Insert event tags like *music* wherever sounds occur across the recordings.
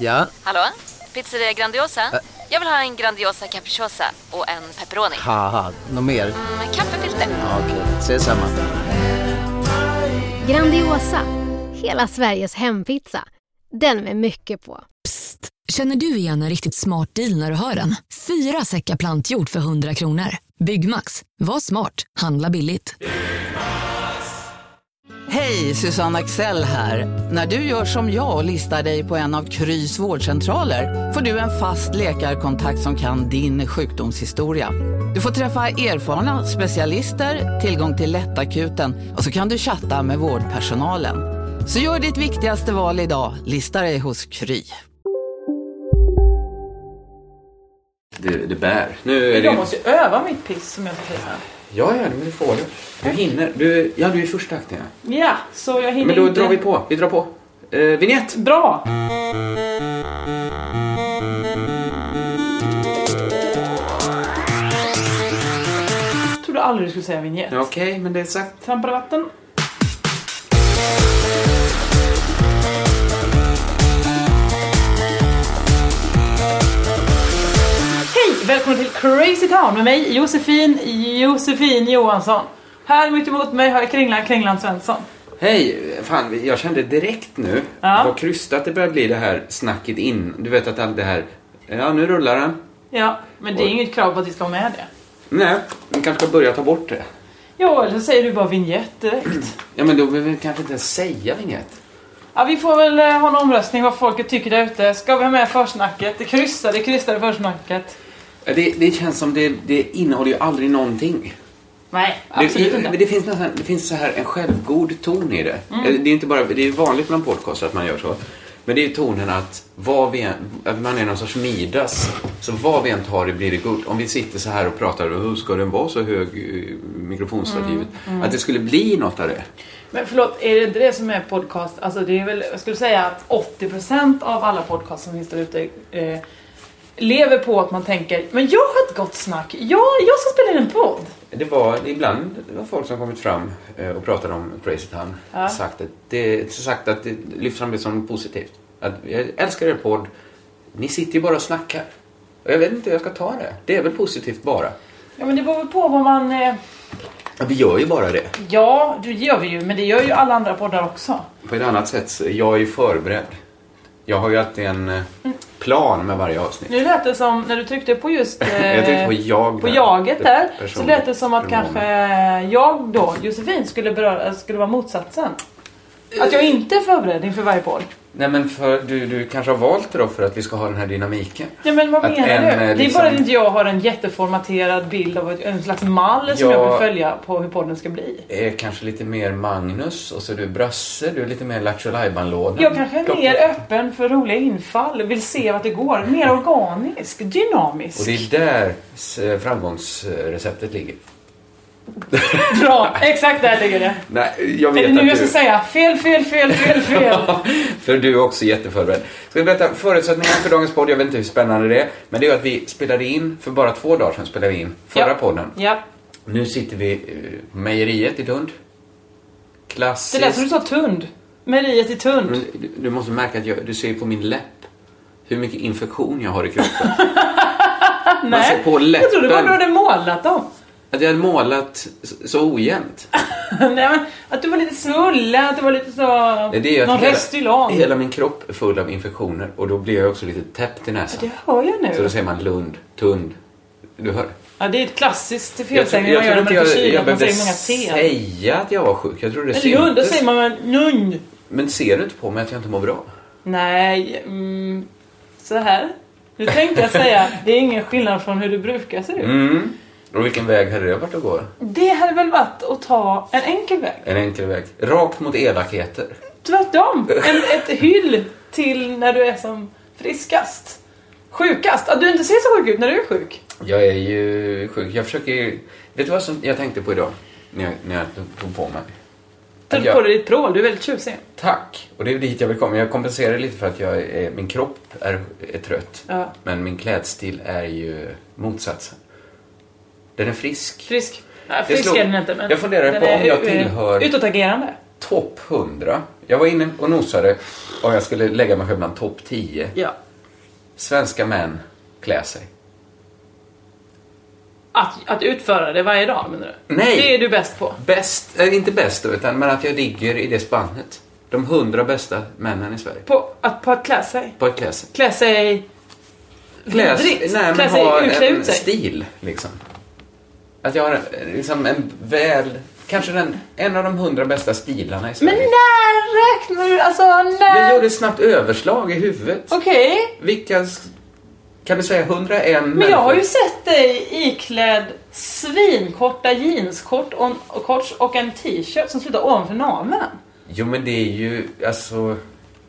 Ja, Hallå? Pizzeria Grandiosa? Jag vill ha en Grandiosa capriciosa och en pepperoni. haha, något mer? Mm, kaffefilter. Ja, Okej, ses samma. Grandiosa, hela Sveriges hempizza. Den med mycket på. Psst! Känner du igen en riktigt smart deal när du hör den? Fyra säckar plantjord för 100 kronor. Byggmax. Var smart. Handla billigt. Hej, Susanne Axel här. När du gör som jag och listar dig på en av Krys vårdcentraler får du en fast läkarkontakt som kan din sjukdomshistoria. Du får träffa erfarna specialister, tillgång till lättakuten och så kan du chatta med vårdpersonalen. Så gör ditt viktigaste val idag, listar dig hos Kry. Det, det bär. Nu är det... Jag måste ju öva mitt piss som jag pissar. Ja, ja, men du får det. Du hinner. Du, ja, du är första akten. ja. Ja, så jag hinner Men då inte... drar vi på. Vi drar på. Eh, vignett! Bra! Jag trodde aldrig du skulle säga vignett. Ja, Okej, men det är sagt. Trampar vatten. Hej! Välkommen till Crazy Town med mig Josefin Josefin Johansson. Här mitt emot mig har jag Kringlan Kringlan Svensson. Hej! Fan, jag kände direkt nu Ja. vad krystat det börjar bli det här snacket in. Du vet att allt det här... Ja, nu rullar den. Ja, men det är inget krav på att vi ska ha med det. Nej, vi kanske ska börja ta bort det. Jo, eller så säger du bara vignett direkt. Ja, men då behöver vi kanske inte ens säga vignett. Ja, vi får väl eh, ha en omröstning vad folket tycker där ute. Ska vi ha med försnacket? Det kryssar, det kryssar i försnacket. Eh, Det, det känns som det, det innehåller ju aldrig någonting. Nej, absolut Det, inte. Mm. men det, finns nästan, det finns så här en självgod ton i det. Eh, Det är inte bara, det är vanligt bland podcast att man gör så. Men det är tonen att vad vi än, att man är någon sorts Midas. Så vad vi än tar det blir det guld. Om vi sitter så här och pratar, hur ska den vara så hög, eh, mikrofonstativet? Mm, Att det skulle bli något av det. Men förlåt, är det inte det som är podcast? Alltså det är väl, jag skulle säga att 80% av alla podcast som finns där ute eh, lever på att man tänker Men jag har ett gott snack, jag, jag ska spela in en podd. Det var ibland det var folk som kommit fram eh, och pratade om Crazy Town. Ja. Sagt, att det, sagt att det lyfts fram det som positivt. Att jag älskar er podd. Ni sitter ju bara och snackar. Och jag vet inte hur jag ska ta det. Det är väl positivt bara. Ja men det beror väl på vad man... Eh, Ja, vi gör ju bara det. ja, det gör vi ju, men det gör ju alla andra poddar också. På ett annat sätt, så- jag är ju förberedd. Jag har ju alltid en eh, plan med varje avsnitt. Nu lät det som, när du tryckte på just *laughs* eh, Jag tyckte på jag på där. jaget där, så Person- lät det som att pronomen. kanske jag då, Josefin, skulle, beröra, skulle vara motsatsen. Att jag inte är förberedd inför varje podd. Nej men för, du, du kanske har valt det då för att vi ska ha den här dynamiken. Ja, men vad Att menar en, du? eh, Det är liksom- bara att inte jag har en jätteformaterad bild av ett- en slags mall som Ja. jag vill följa på hur podden ska bli. Är Eh, kanske lite mer Magnus och så är du Brasse, du är lite mer Lattjo Lajban-lådan. Jag kanske är Plocka- mer öppen för roliga infall, vill se vart det går. Mer organisk, Och dynamisk. det är där s- eh, framgångsreceptet ligger. Bra, exakt där ligger det. Nej, jag Är vet det nu att jag ska du... säga fel, fel, fel, fel, fel? *laughs* för du är också jätteförberedd. Ska jag berätta förutsättningarna för dagens podd? Jag vet inte hur spännande det är. Men det är ju att vi spelade in, för bara två dagar sedan spelade vi in förra Ja. podden. Ja, Nu sitter vi eh, på mejeriet i Lund. det Klassiskt. lät som du sa tund. Mejeriet i Tund. Du- Du måste märka att jag, du ser på min läpp hur mycket infektion jag har i kroppen. *laughs* Man ser på jag trodde bara läppen du hade målat dem. *laughs* att jag hade målat s- så ojämnt. Nej, men att du var lite svulla, att du var lite så... Det är det jag någon tycker- restylan. Hela min kropp är full av infektioner och då blir jag också lite täppt i näsan. Det hör jag Så då nu. säger man Lund, Tund. Du hör. Ja, det är ett klassiskt Jag, felsägning jag man gör när man är förkyld, att man behövde säger många T. säga att jag var sjuk. Jag trodde det Eller lund, då syntes. säger man väl nunn. Men ser du inte på mig att jag inte mår bra? Nej, mm, så här. Nu tänkte jag säga, det är ingen skillnad från hur du brukar se ut. Mm. Och vilken väg hade det varit att gå? Det hade väl varit att ta en enkel väg? En enkel väg. Rakt mot elakheter. Tvärtom! En, ett hyll till när du är som friskast. Sjukast? Att du inte ser så sjuk ut när du är sjuk. Jag är ju sjuk. Jag försöker ju... Vet du vad som jag tänkte på idag? När jag, när jag tog på mig. Tar Ja. på dig ditt prål, du är väldigt tjusig. Tack! Och det är dit jag vill komma. Jag kompenserar lite för att jag är, min kropp är, är trött. Ja. Men min klädstil är ju motsatsen. Den är frisk. Frisk. Nej, Det frisk slog- är den inte men... jag funderar den på om är, jag eh, tillhör- Utåtagerande. Topp 100 Jag var inne och nosade och jag skulle lägga mig själv bland topp 10. Ja. Svenska män klär sig. Att, att utföra det varje dag menar du? Nej. Det är du bäst på. Bäst, eh, inte bäst då, utan men att jag ligger i det spannet. De hundra bästa männen i Sverige. På att, på att klä sig. På att klä sig. Klä sig Klä sig- vidrigt. nej, klä men ha sig, uklä en ut sig. stil liksom. Att jag har eh, liksom en väl, kanske den, en av de hundra bästa stilarna i Men Sverige. när räknar du? Alltså när? Jag gjorde ett snabbt överslag i huvudet. Okej. Vilka, s- kan du säga 101 Men jag har ju sett dig iklädd svinkorta jeanskort och, och, korts och en t-shirt som slutar ovanför naveln. Jo men det är ju, alltså,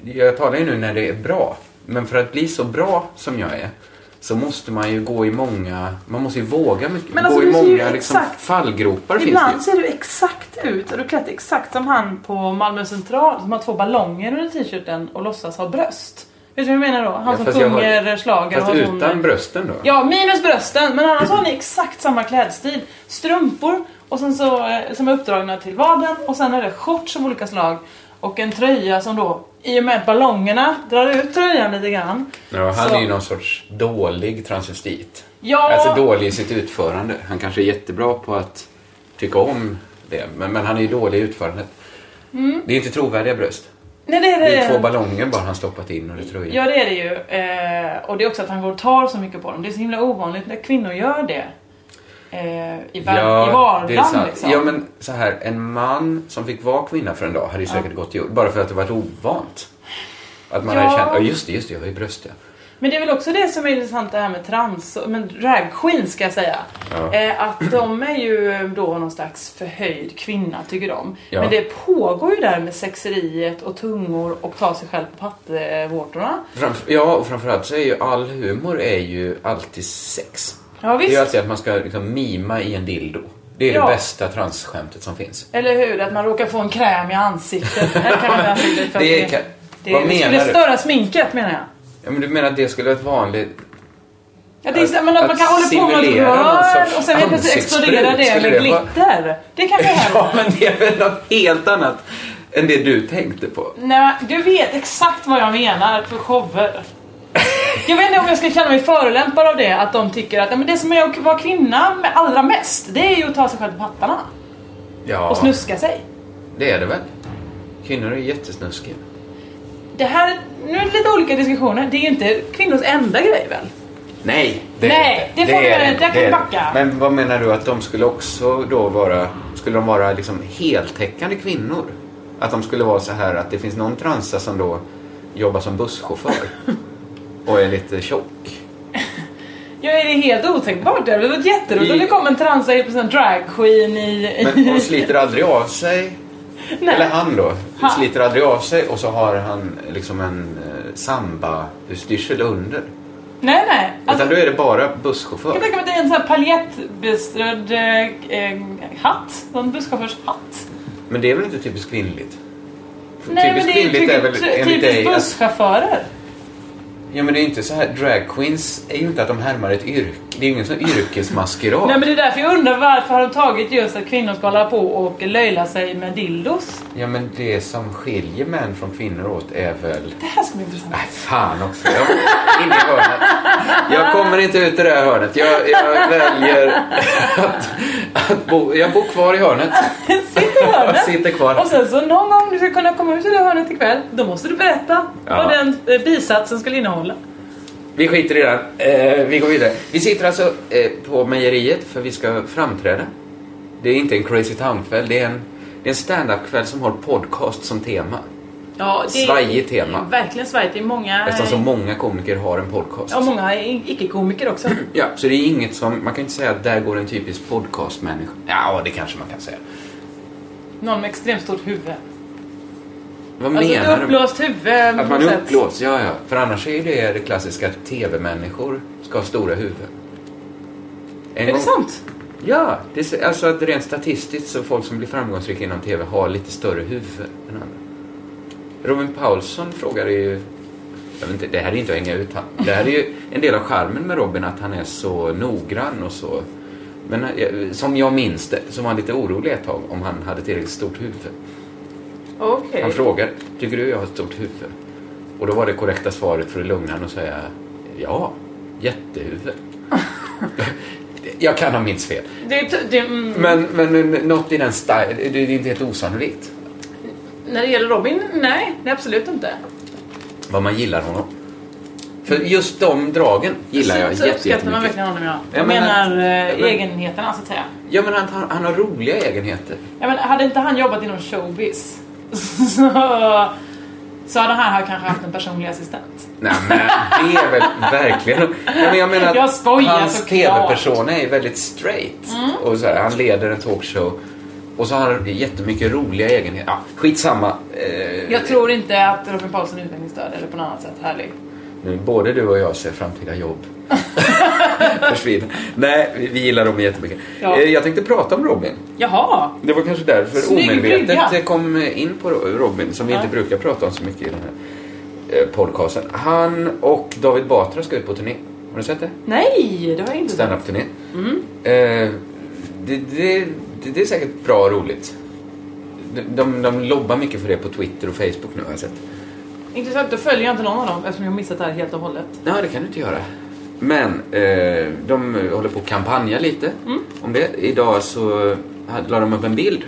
jag talar ju nu när det är bra. Men för att bli så bra som jag är så måste man ju gå i många, man måste ju våga mycket. Men alltså, gå i du ser ju många liksom, exakt- fallgropar finns det Ibland ju. ser du exakt ut, och du klätt exakt som han på Malmö central som har två ballonger under t-shirten och låtsas ha bröst. Vet du vad jag menar då? Han Ja, som fast jag har- sjunger schlager och Fast har sån- utan brösten då. Ja, minus brösten, men annars har ni exakt samma klädstil. Strumpor och sen så, eh, som är uppdragna till vaden och sen är det shorts av olika slag och en tröja som då, i och med att ballongerna drar ut tröjan lite grann. Ja, han Så- är ju någon sorts dålig transvestit. Ja, Alltså dålig i sitt utförande. Han kanske är jättebra på att tycka om det, men, men han är ju dålig i utförandet. Mm. Det är inte trovärdiga bröst. nej, det är det. Det är två ballonger bara han stoppat in och det tror jag. Ja det är det ju. Eh, och det är också att han går och tar så mycket på dem. Det är så himla ovanligt när kvinnor gör det. Eh, I, var- i det är vardagen sant. liksom. Ja, men så här, en man som fick vara kvinna för en dag hade ju säkert gått till jord, bara för att det var ovant. Att man Ja. hade känt, ja just det, just det, jag har ju bröst ja. Men det är väl också det som är intressant det här med trans, men drag queens ska jag säga. Ja. Eh, att de är ju då någon slags förhöjd kvinna tycker de. Ja. Men det pågår ju där med sexeriet och tungor och ta sig själv på pattevårtorna. Framf- ja, och framförallt så är ju all humor är ju alltid sex. Ja Det är ju visst, alltid att man ska liksom mima i en dildo. Det är Ja. det bästa transskämtet som finns. eller hur? Att man råkar få en kräm i ansiktet. Eller *laughs* kan man inte ansiktet för att Det kan- det, vad det skulle menar du? störa sminket menar jag. Ja, men du menar att det skulle vara ett vanligt... *laughs* Ja, det är, så- men att, Att man kan hålla på med något simulera någon rör sorts och sen helt plötsligt ansiktssprut, exploderar det skulle med det vara? glitter. Det *laughs* kanske händer. Ja, men det är väl något helt annat än det du tänkte på. Nej, du vet exakt vad jag menar för shower. Jag vet inte om jag ska känna mig förolämpad av det, att de tycker att "Ja, men det som är att vara kvinna med allra mest, det är ju att ta sig själv på pattarna och *laughs* Ja, snuska sig. det är det väl. Kvinnor är jättesnuskiga. Det här, nu är det lite olika diskussioner, det är ju inte kvinnors enda grej väl? Nej, det Nej, är det får är du- inte. där kan Det du är- backa. Men vad menar du att de skulle också då vara, skulle de vara liksom heltäckande kvinnor? Att de skulle vara så här att det finns någon transa som då jobbar som *laughs* busschaufför och är lite tjock. Ja, är det helt otänkbart? Det hade varit jätteroligt om det kom en transa helt plötsligt en dragqueen i... Men hon sliter aldrig av sig, *laughs* Nej. eller han då, Han. sliter aldrig av sig och så har han liksom en eh, samba-utstyrsel under. nej, nej. Alltså, Utan då är det bara Jag busschaufför. kan tänka mig att det är en sån här paljettbeströdd eh, eh, hatt, någon busschaufförshatt. Men det är väl inte typiskt kvinnligt? Nej men Typiskt det är ju kvinnligt är typiskt, väl enligt dig typiskt att- busschaufförer. Ja men det är inte så här, drag queens är ju inte att de härmar ett yrke, det är ju ingen sån yrkesmaskerad. Nej men det är därför jag undrar varför har de tagit just att kvinnor ska hålla på och löjla sig med dildos? Ja men det som skiljer män från kvinnor åt är väl... Det här ska bli intressant. *laughs* Nej fan också, jag, in i hörnet. jag kommer inte ut ur det här hörnet. Jag, jag väljer *laughs* att, att bo, jag bor kvar i hörnet. Sitt i Jag *laughs* hörnet! sitter kvar. Och sen så någon gång du ska kunna komma ut ur det hörnet ikväll, då måste du berätta Ja. vad den eh, bisatsen skulle innehålla. Vi skiter i det här. eh, vi går vidare. Vi sitter alltså eh, på mejeriet för vi ska framträda. Det är inte en crazy town-kväll, det är en, det är en stand-up-kväll som har podcast som tema. Ja, det är- Svajigt tema. det är Verkligen svajigt. Det är många... Eftersom så många komiker har en podcast. Ja, många är *clears throat* icke-komiker också. Ja, så det är inget som, man kan inte säga att där går en typisk podcastmänniska. Ja, det kanske man kan säga. Någon med extremt stort huvud. Vad Alltså menar ett du? uppblåst huvud. Att på man något sätt. uppblåst, ja ja. För annars är det det klassiska att tv-människor ska ha stora huvuden. En Är det sant? Ja, det är, så- alltså att rent statistiskt så folk som blir framgångsrika inom tv har lite större huvud än andra. Robin Paulsson frågade ju, jag vet inte, det här är inte att hänga ut han. Det här är ju en del av charmen med Robin att han är så noggrann och så. Men eh, som jag minns det så var han lite orolig ett tag om han hade tillräckligt stort huvud. Okej. Han frågade, tycker du jag har ett stort huvud? Och då var det korrekta svaret för att lugna honom att säga, ja, jättehuvud. jag kan ha minst fel. Det, är t- det, mm, Men, men, men något i den stil, det är inte helt osannolikt. När det gäller Robin, nej, nej absolut inte. Vad man gillar honom. För just de dragen gillar jag så, så jätte- uppskattar jättemycket. man verkligen honom ja. Ja, Jag men menar han- eh, ja, men- egenheterna så att säga. Ja men han, han, han har roliga egenheter. Ja, men hade inte han jobbat inom showbiz *laughs* så, så hade han här kanske haft en personlig assistent. Nej men det är väl verkligen... Nej, men jag menar att Jag skojar hans såklart. Mm. TV-persona är väldigt straight. Och så här, han leder en talkshow och så har han jättemycket roliga egenheter. Ja, skitsamma. Eh, Jag tror inte att Robin Paulsson är utvecklingsstörd eller på något annat sätt härlig. nu, både du och jag ser framtida jobb *laughs* försvinna. Nej, vi, vi gillar dem jättemycket. Ja. Eh, jag tänkte prata om Robin. Jaha! Det var kanske därför Snygg brygga. omedvetet jag kom in på Robin som vi inte brukar prata om så mycket i den här eh, podcasten. Han och David Batra ska ut på turné. Har du sett det? Nej, det har jag inte. Standup-turné. Mm. Eh, det, det, det, det är säkert bra och roligt. De, de, de lobbar mycket för det på Twitter och Facebook nu har jag sett. Intressant, då följer jag inte någon av dem eftersom jag har missat det här helt och hållet. Nej, det kan du inte göra. Men eh, de håller på att kampanja lite om det. Idag så hade- la de upp en bild.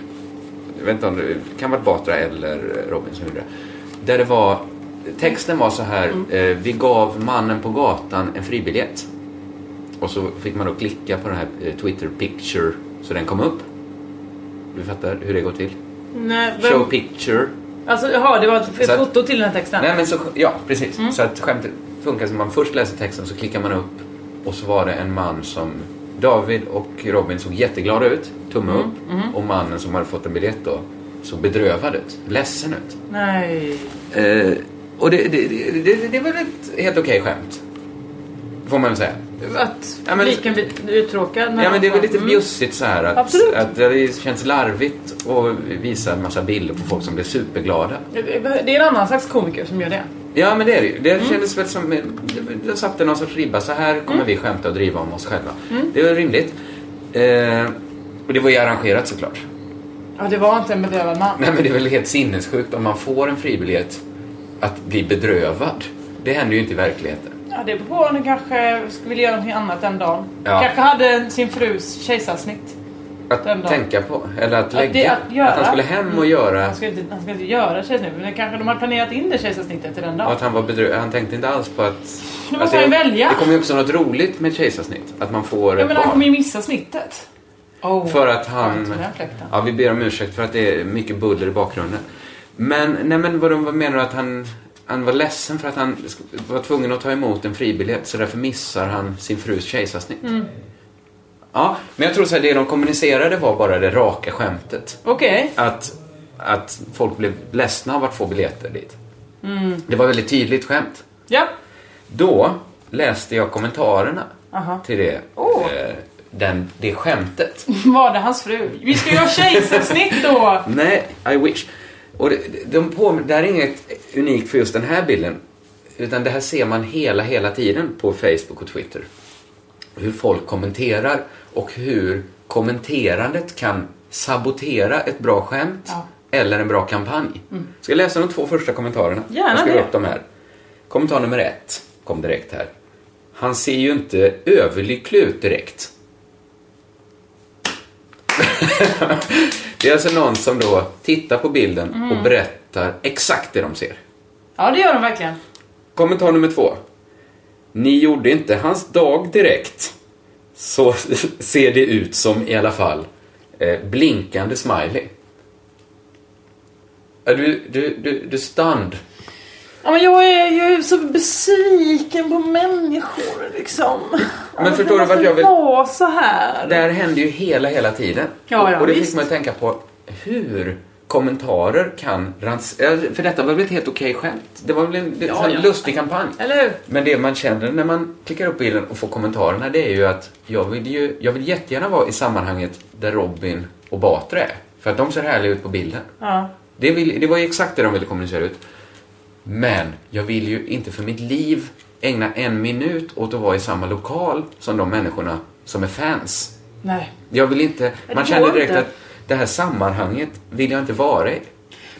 Jag vet inte om det kan vara Batra eller Robin som gjorde det. Där det var, texten var så här. Eh, vi gav mannen på gatan en fribiljett. Och så fick man då klicka på den här eh, Twitter picture så den kom upp. Du fattar hur det går till? Nej, vem, Show picture. Alltså jaha, det var ett Så att- foto till den här texten. Nej, men så, ja, precis. Så att skämtet funkar som man först läser texten så klickar man upp och så var det en man som David och Robin såg jätteglada ut, tumme upp. Och mannen som hade fått en biljett då såg bedrövad ut, ledsen ut. Nej. Eh, och det, det, det, det, det var ett helt okej skämt. Får man väl säga. Att Ja, men- liken blir uttråkad. när Ja men det är väl han- lite bjussigt så här att, Absolut. att det känns larvigt och visa en massa bilder på folk som blir superglada. Mm. Det är en annan slags komiker som gör det. Ja, men det är det ju. Det Mm. kändes väl som... Då satte någon sorts ribba. Så här kommer vi skämta och driva om oss själva. Mm. Det var rimligt. Eh, och det var ju arrangerat såklart. Ja, det var inte en bedövad man. Nej, men det är väl helt sinnessjukt om man får en fribiljett att bli bedrövad. Det händer ju inte i verkligheten. Ja, det beror på om du kanske ville göra någonting annat den dagen. Ja. Kanske hade sin frus kejsarsnitt. Att Den dagen. tänka på, eller att lägga. det- att göra. Mm. han skulle hem och göra... Han ska inte, han ska inte göra kejsarsnitt, men kanske de har planerat in det kejsarsnittet till den Och dagen. att han var bedrövad. Han tänkte inte alls på att... Alltså, Nu måste han ju välja. det kommer ju också något roligt med kejsarsnitt. Att man får Ja, ett men han barn. kommer ju missa snittet. Oh, För att jag han... tog den fläkten. Ja, vi ber om ursäkt för att det är mycket buller i bakgrunden. Men, nej men vad, de, vad menar du att han... Han var ledsen för att han sk- var tvungen att ta emot en fribiljett så därför missar han sin frus kejsarsnitt. Mm. Ja, men jag tror så här, det de kommunicerade var bara det raka skämtet. Okej. Att, att folk blev ledsna av att få biljetter dit. Mm. Det var väldigt tydligt skämt. Ja. *laughs* Då läste jag kommentarerna Aha. till det, Åh. eh, den, det skämtet. Var det hans fru? Vi ska göra kejsarsnitt då! Nej, I wish. Och det, de på, det här är inget unikt för just den här bilden. Utan det här ser man hela, hela tiden på Facebook och Twitter. Hur folk kommenterar och hur kommenterandet kan sabotera ett bra skämt Ja. Mm. eller en bra kampanj. Ska jag läsa de två första kommentarerna? Gärna jag ska det. upp dem här. Kommentar nummer ett kom direkt här. Han ser ju inte överlycklig ut direkt. *laughs* Det är alltså någon som då tittar på bilden Mm. och berättar exakt det de ser. Ja, det gör de verkligen. Kommentar nummer två. Ni gjorde inte hans dag direkt. Så *laughs* ser det ut som i alla fall. Eh, blinkande smiley. Ja, Du, du, du, du stand. Ja, men jag är ju så besviken på människor liksom. Men förstår du vart jag vill- Det måste vara så här. Det här hände ju hela, hela tiden. Ja, ja, och det visst. fick man ju tänka på hur kommentarer kan rans... eh, För detta var väl ett helt okej skämt? Det var väl en, en sån ja. lustig kampanj? Eller hur? Men det man känner när man klickar upp bilden och får kommentarerna det är ju att jag vill ju, jag vill jättegärna vara i sammanhanget där Robin och Batra är. För att de ser härliga ut på bilden. Ja. Det, vill, det var ju exakt det de ville kommunicera ut. Men jag vill ju inte för mitt liv ägna en minut åt att vara i samma lokal som de människorna som är fans. Nej. Jag vill inte, det man går känner direkt inte. att det här sammanhanget vill jag inte vara i.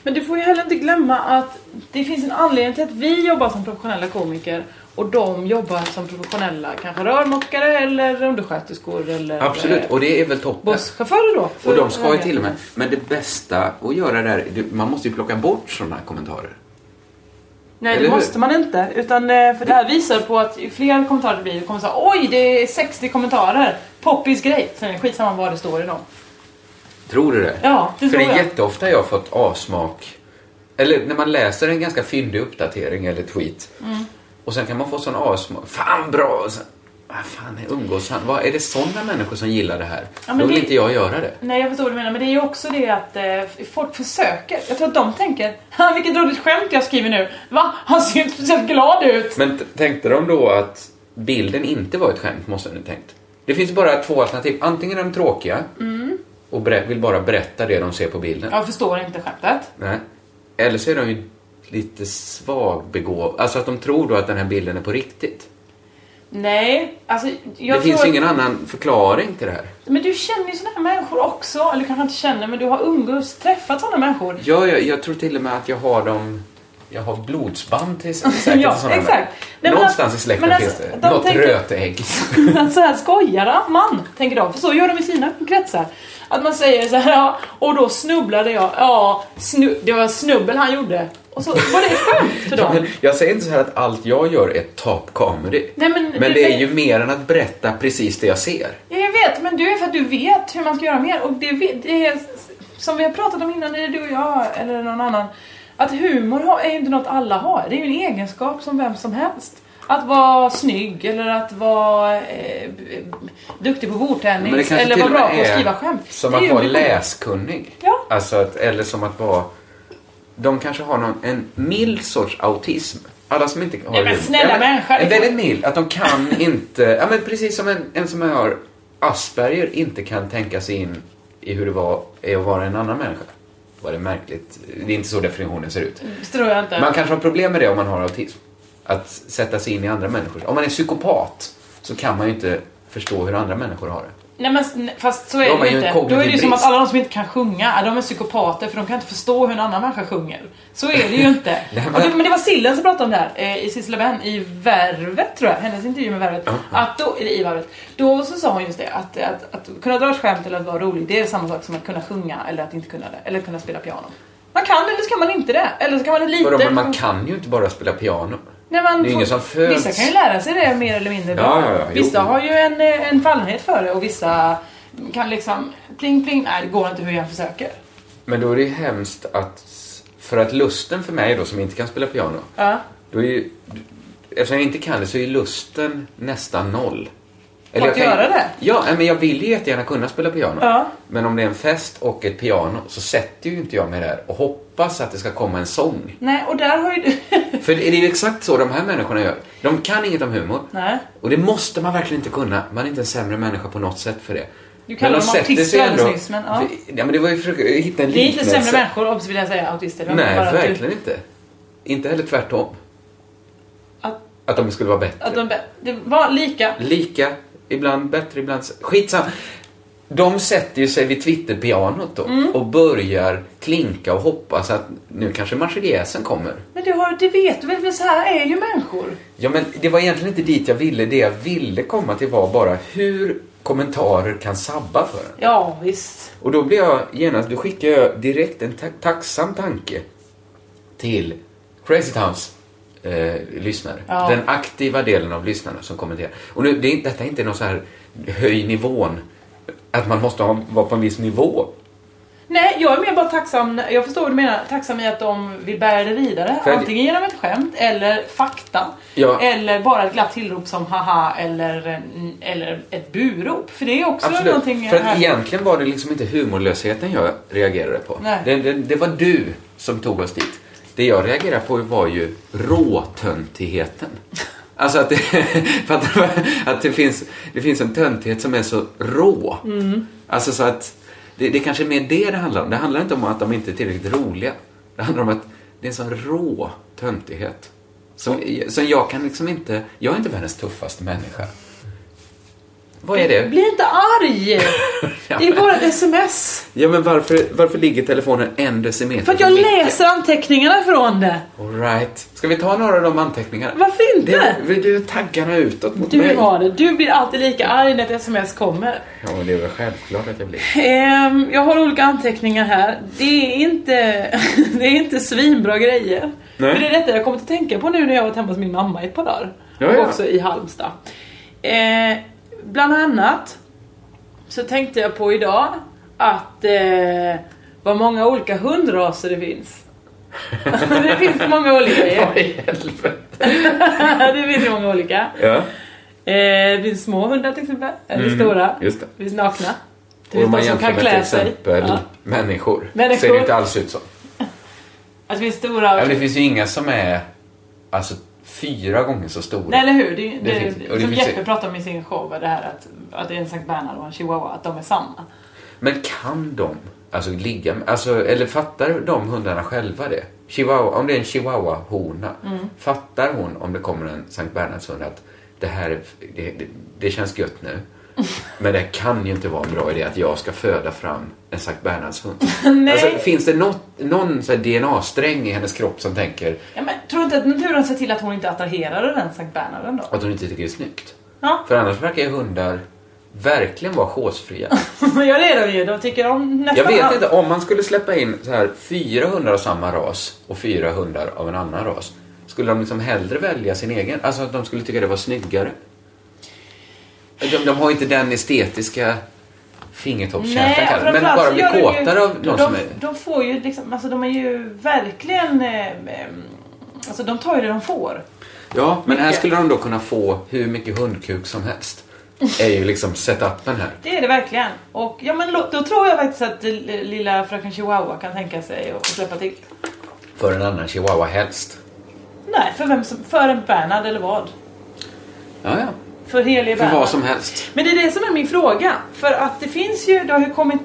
Men du får ju heller inte glömma att det finns en anledning till att vi jobbar som professionella komiker och de jobbar som professionella kanske rörmokare eller undersköterskor eller Absolut, eh, och det är väl toppen. busschaufförer då. Och för de ska ju högre. till och med... Men det bästa att göra där, det- man måste ju plocka bort sådana här kommentarer. Nej Eller det hur? måste man inte. Utan, eh, för det här visar på att ju fler kommentarer det blir, det kommer säga oj det är 60 kommentarer. Poppis grej. Sen är det skitsamma vad det står i dem. Tror du det? Ja, det För tror det är jag. jätteofta jag har fått avsmak. Eller när man läser en ganska fyndig uppdatering eller tweet. Mm. Och sen kan man få sån avsmak. Fan bra! Och sen, vad fan är umgås han? Vad, är det sådana människor som gillar det här? men Då vill det- inte jag göra det. Nej jag förstår vad du menar men det är ju också det att eh, folk försöker. Jag tror att de tänker "Ha, vilket roligt skämt jag skriver nu. Va? Han ser inte speciellt glad ut. Men t- tänkte de då att bilden inte var ett skämt, måste ni tänkt. Det finns bara två alternativ. Antingen är de tråkiga Mm. och berä- vill bara berätta det de ser på bilden. Jag förstår inte skämtet. Nej. Eller så är de ju lite svagbegåvade. Alltså att de tror då att den här bilden är på riktigt. Nej, alltså jag det tror finns att- ingen annan förklaring till det här. Men du känner ju sådana här människor också. Eller kanske inte känner men du har umgås, träffat sådana människor. Jag, jag, jag tror till och med att jag har dem... Jag har blodsband till *laughs* säkert Ja, till sådana exakt. människor. Nej, men Någonstans alltså- i släkten men finns alltså, det de något tänker- rötägg. *laughs* *laughs* att så här skojar man, tänker de. För så gör de i sina kretsar. Att man säger så här, ja, och då snubblade jag. Ja, snu, det var snubbel han gjorde. Och så var det ett skämt för dem. Jag säger inte så här att allt jag gör är top comedy. Nej, men- men det är men- ju mer än att berätta precis det jag ser. Ja, jag vet, men du är för att du vet hur man ska göra mer. Och det, vet- det är, som vi har pratat om innan, det är du och jag eller någon annan. Att humor har- är ju inte något alla har. Det är ju en egenskap som vem som helst. Att vara snygg eller att vara eh, b- duktig på bordtennis eller vara bra på att skriva skämt. som Det är att ju vara en- läskunnig. Ja. Alltså att, eller som att vara... De kanske har någon, en mild sorts autism. Alla som inte har Nej, men det. snälla Ja, men människa, liksom. En det- väldigt mild. Att de *laughs* kan inte... Ja, men precis som en, en som har Asperger inte kan tänka sig in i hur det var, är att vara en annan människa. Var det märkligt? Det är inte så definitionen ser ut. Det tror jag inte. Man kanske har problem med det om man har autism. Att sätta sig in i andra människor. Om man är psykopat så kan man ju inte förstå hur andra människor har det. Nej men s- fast så är Då har det man ju ju en inte. Då kognitiv är det ju som att brist. alla de som inte kan sjunga, ja, de är psykopater för de kan inte förstå hur en annan människa sjunger. Så är *laughs* det ju inte. Och det, men det var Sillen som pratade om det här eh, i Sissela Benn i Värvet tror jag, hennes intervju med Värvet. Att då, eller i Värvet. Då så sa hon just det att, att, att kunna dra ett skämt eller att vara rolig det är samma sak som att kunna sjunga eller att inte kunna det. Eller att kunna spela piano. Man kan eller så kan man inte det. Eller så kan man det lite. Vadå, men man kan ju inte bara spela piano. Nej, man Det är får- ingen som föds. Vissa kan ju lära sig det mer eller mindre bra. Ja, ja, ja, jo. vissa har ju en, eh, en fallenhet för det och vissa kan liksom pling pling, nej det går inte hur jag försöker. Men då är det ju hemskt att... För att lusten för mig då, som inte kan spela piano, Ja. då är ju... Eftersom jag inte kan det så är lusten nästan noll. Att göra det? Ja, nej, men jag vill ju jättegärna kunna spela piano. Ja. Men om det är en fest och ett piano så sätter ju inte jag mig där och hoppas att det ska komma en sång. Nej, och där har ju du... *laughs* För det är ju exakt så de här människorna gör. De kan inget om humor. Nej. Och det måste man verkligen inte kunna. Man är inte en sämre människa på något sätt för det. Du kallar Men de dem sätter sig autister alldeles ändå- nyss, men ja. Ja, men det var ju för att hitta en Det är inte liknelse. sämre människor, obs vill jag säga, autister. Det var Nej, bara att du- verkligen inte. Inte heller tvärtom. Att- Att de skulle vara bättre. Att de, be- det var lika. Lika, ibland bättre, ibland... s- Skitsam. De sätter ju sig vid Twitter-pianot då Mm. och börjar klinka och hoppas att nu kanske Marseljäsen kommer. Men du, har, det vet du väl, för så här är ju människor. Ja, men det var egentligen inte dit jag ville. Det jag ville komma till var bara hur kommentarer kan sabba för en. Ja, visst. Och då blir jag genast, då skickar jag direkt en ta- tacksam tanke till Crazy Towns eh, lyssnare. Ja. Den aktiva delen av lyssnarna som kommenterar. Och nu, det är, inte- detta är inte någon så här höj nivån, att man måste ha, vara på en viss nivå. Nej, jag är mer bara tacksam, jag förstår vad du menar, tacksam i att de vill bära det vidare. För att- antingen genom ett skämt eller fakta. Ja. Eller bara ett glatt tillrop som haha eller, mm, eller ett burop. För det är också någonting För att här- egentligen var det liksom inte humorlösheten jag reagerade på. Nej. Det, det, det var du som tog oss dit. Det jag reagerade på var ju råtöntigheten. Alltså att det, *laughs* för att, att det, finns, det finns en töntighet som är så rå. Mm. Alltså så att det, det kanske är mer det det handlar om. Det handlar inte om att de inte är tillräckligt roliga. Det handlar om att det är en sån rå töntighet. Som, som jag kan liksom inte... Jag är inte världens tuffaste människa. Vad är det? Bli inte arg! *laughs* Det är bara ett sms. Ja, men varför, varför ligger telefonen en decimeter? För att jag från micken? läser anteckningarna från det. All right. Ska vi ta några av de anteckningarna? Varför inte? Det, vill du taggarna utåt mot Du mig? vill ha det. Du blir alltid lika arg när ett sms kommer. Ja, men det är väl självklart att jag blir. Ehm, jag har olika anteckningar här. Det är inte, *laughs* det är inte svinbra grejer. Nej. Men det är detta jag kommit att tänka på nu när jag varit hemma hos min mamma i ett par dagar. Ja, ja. Och Också i Halmstad. Ehm, bland annat så tänkte jag på idag att eh, vad många olika hundraser det finns. *laughs* det finns så många olika. Vad i helvete? *laughs* det finns så många olika. Ja, Mm, Eh, det finns små hundar till exempel. Eller stora. just det. Det finns nakna. Det Och om finns man de som jämför kan med till klä sig. exempel Ja. människor, Människor. ser det ju inte alls ut som. Att vi är stora Ja, och... men det finns ju inga som är alltså, fyra gånger så stora. Nej, eller hur? Det, det, finns- och det som finns- Jeppe pratade om i sin show, var det här att, att det är en Sankt Bernhard och en chihuahua, att de är samma. Men kan de alltså, ligga med, alltså, eller fattar de hundarna själva det? Chihuahua, om det är en chihuahua-hona, fattar hon om det kommer en Sankt Bernhardshund att det här är- det, det, det känns gött nu, men det kan ju inte vara en bra idé att jag ska föda fram en Sankt Bernhardshund. Nej. Alltså, finns det något, någon så här DNA-sträng i hennes kropp som tänker Ja, men, tror du inte att naturen ser till att hon inte attraherar den Sankt Bernharden då? att hon inte tycker det är snyggt? Ja, *laughs* För annars verkar ju hundar verkligen vara chosefria. ja det är de ju. De tycker om nästan Jag vet allt. inte, om man skulle släppa in så här fyra hundar av samma ras och fyra hundar av en annan ras, skulle de liksom hellre välja sin egen? Alltså att de skulle tycka det var snyggare? De, de har ju inte den estetiska fingertoppskänslan Nej, kanske, men framförallt bara så bli gör de ju- kåtare av någon de, som är... De får ju liksom, alltså de är ju verkligen... Eh, eh, alltså de tar ju det de får. Ja, men här mycket. skulle de då kunna få hur mycket hundkuk som helst. är ju liksom setupen här. Det är det verkligen. Och ja, men lo- då tror jag faktiskt att eh, lilla fröken Chihuahua kan tänka sig att släppa till. För en annan chihuahua helst. Nej, för vem som, för en Bernhard eller vad? Ja, ja. För helige För Bernhard. vad som helst. Men det är det som är min fråga. För att det finns ju, det har ju kommit,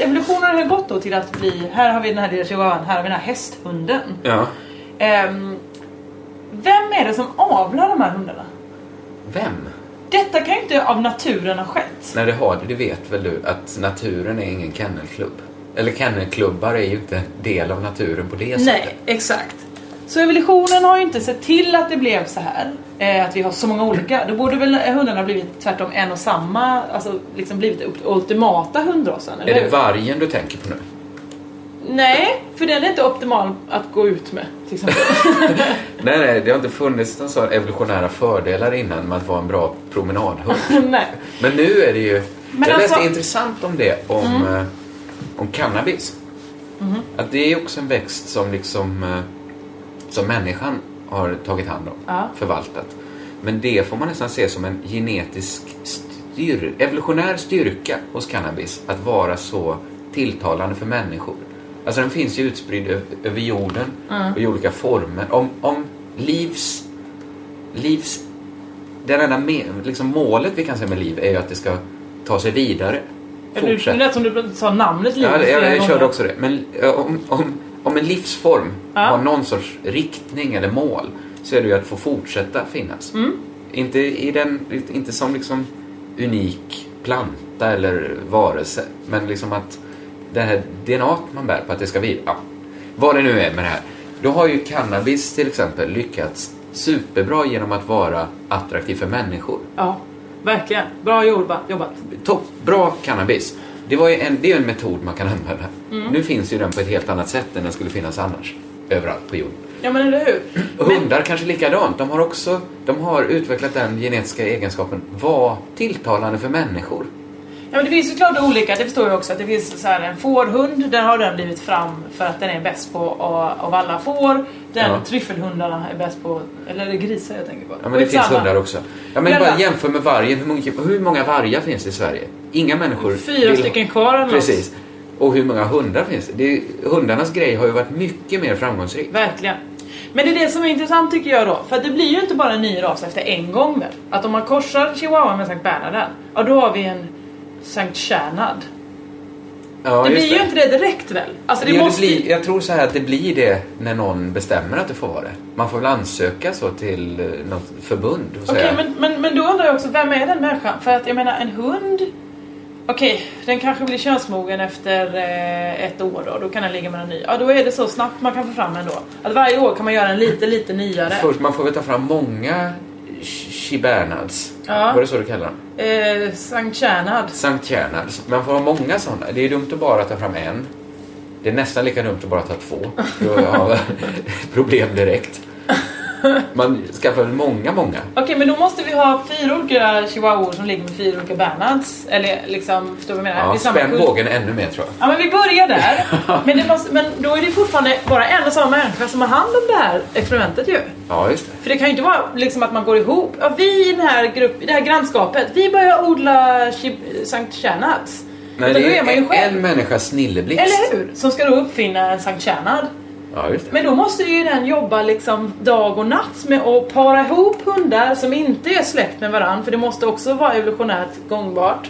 evolutionen har ju gått då till att bli, här har vi den här lilla chihuahuan, här har vi den här hästhunden. Ja. Ehm, vem är det som avlar de här hundarna? Vem? Detta kan ju inte av naturen ha skett. När det har det, det vet väl du att naturen är ingen kennelklubb? Eller kennelklubbar är ju inte en del av naturen på det sättet. Nej, exakt. Så evolutionen har ju inte sett till att det blev så här. Eh, att vi har så många olika. Då borde väl hundarna blivit tvärtom en och samma, alltså liksom blivit upp- ultimata hundrasen. eller Är det hur? vargen du tänker på nu? Nej, för den är inte optimal att gå ut med till exempel. Nej, nej, det har inte funnits några sådana evolutionära fördelar innan med att vara en bra *laughs* promenadhund. Nej. Men nu är det ju... jag Men läste alltså- Mm. intressant om det, om, eh, om cannabis. Mm-hmm. Att det är också en växt som liksom eh, som människan har tagit hand om, Ja. förvaltat. Men det får man nästan se som en genetisk styr, evolutionär styrka hos cannabis, att vara så tilltalande för människor. Alltså den finns ju utspridd ö- över jorden och i olika former. Om, om livs... livs det enda me- liksom målet vi kan säga med liv är ju att det ska ta sig vidare. Ja, Du, det Fortsätta. lät som du sa namnet lite Ja, jag, flera jag körde gånger. också det. Men eh, om, om, om en livsform har någon sorts riktning eller mål så är det ju att få fortsätta finnas. Inte, i den, inte som liksom unik planta eller varelse, men liksom att det här DNA man bär på, att det ska vidare. Ja, vad det nu är med det här. Då har ju cannabis till exempel lyckats superbra genom att vara attraktiv för människor Ja, verkligen. Bra jobba- jobbat. topp, bra cannabis. Det, var ju en, det är ju en metod man kan använda. Mm. Nu finns ju den på ett helt annat sätt än den skulle finnas annars. Överallt på jorden. Ja men eller hur? Och Hundar kanske likadant. De har också de har utvecklat den genetiska egenskapen vara tilltalande för människor. Ja, men det finns såklart olika, det förstår jag också. Att det finns så här, en fårhund, där har den blivit fram för att den är bäst på av av alla får. Den Ja. tryffelhundarna är bäst på, eller är det grisar jag tänker på? Ja, men det finns Skitsamma. hundar också. Ja, men Men bara va- jämför med vargen. Hur många, hur många vargar finns det i Sverige? Inga människor. Fyra vill- stycken kvar eller något. Precis. Och hur många hundar finns det? det? är- Hundarnas grej har ju varit mycket mer framgångsrik. Verkligen. Men det är det som är intressant tycker jag då. För att det blir ju inte bara en ny ras efter en gång väl? Att om man korsar chihuahua med Sankt Bernhard, ja då har vi en Sankt Tjärnad. Ja, det just blir ju inte det direkt väl? Alltså det Ja, det måste ju- blir, jag tror så här att det blir det när någon bestämmer att det får vara det. Man får väl ansöka så till eh, något förbund och Okej, säga. men, men, men då undrar jag också, vem är den människan? För att jag menar, en hund... Okej, den kanske blir könsmogen efter eh, ett år då, då kan den ligga med en ny. Ja, då är det så snabbt man kan få fram en då. Att varje år kan man göra en lite, lite nyare. Först, man får väl ta fram många sh- Shibernads. Ja. Var det så du kallar dem? Eh, Sankt Tjärnad. Sankt Gernads. Man får ha många sådana. Det är dumt att bara ta fram en. Det är nästan lika dumt att bara ta två. Då har jag *laughs* problem direkt. Man skaffar väl många, många. Okej, men då måste vi ha fyra olika chihuahuor som ligger med fyra olika bernards. Eller liksom, förstår du vad jag menar? Ja, Det är samma spänn kund. bågen ännu mer tror jag. Ja men vi *laughs* börjar där. Men, det måste, men då är det fortfarande bara en och samma människa som har hand om det här experimentet ju. Ja, just det. För det kan ju inte vara liksom att man går ihop. Ja, vi i den här grupp, i det här grannskapet, vi börjar odla Chib- Sankt Tjärnads. Nej, Men då det är man ju en, själv. en människas snilleblixt. Eller hur? Som ska då uppfinna en Sankt Tjärnad. Ja, just det. Men då måste ju den jobba liksom dag och natt med att para ihop hundar som inte är släkt med varandra, för det måste också vara evolutionärt gångbart.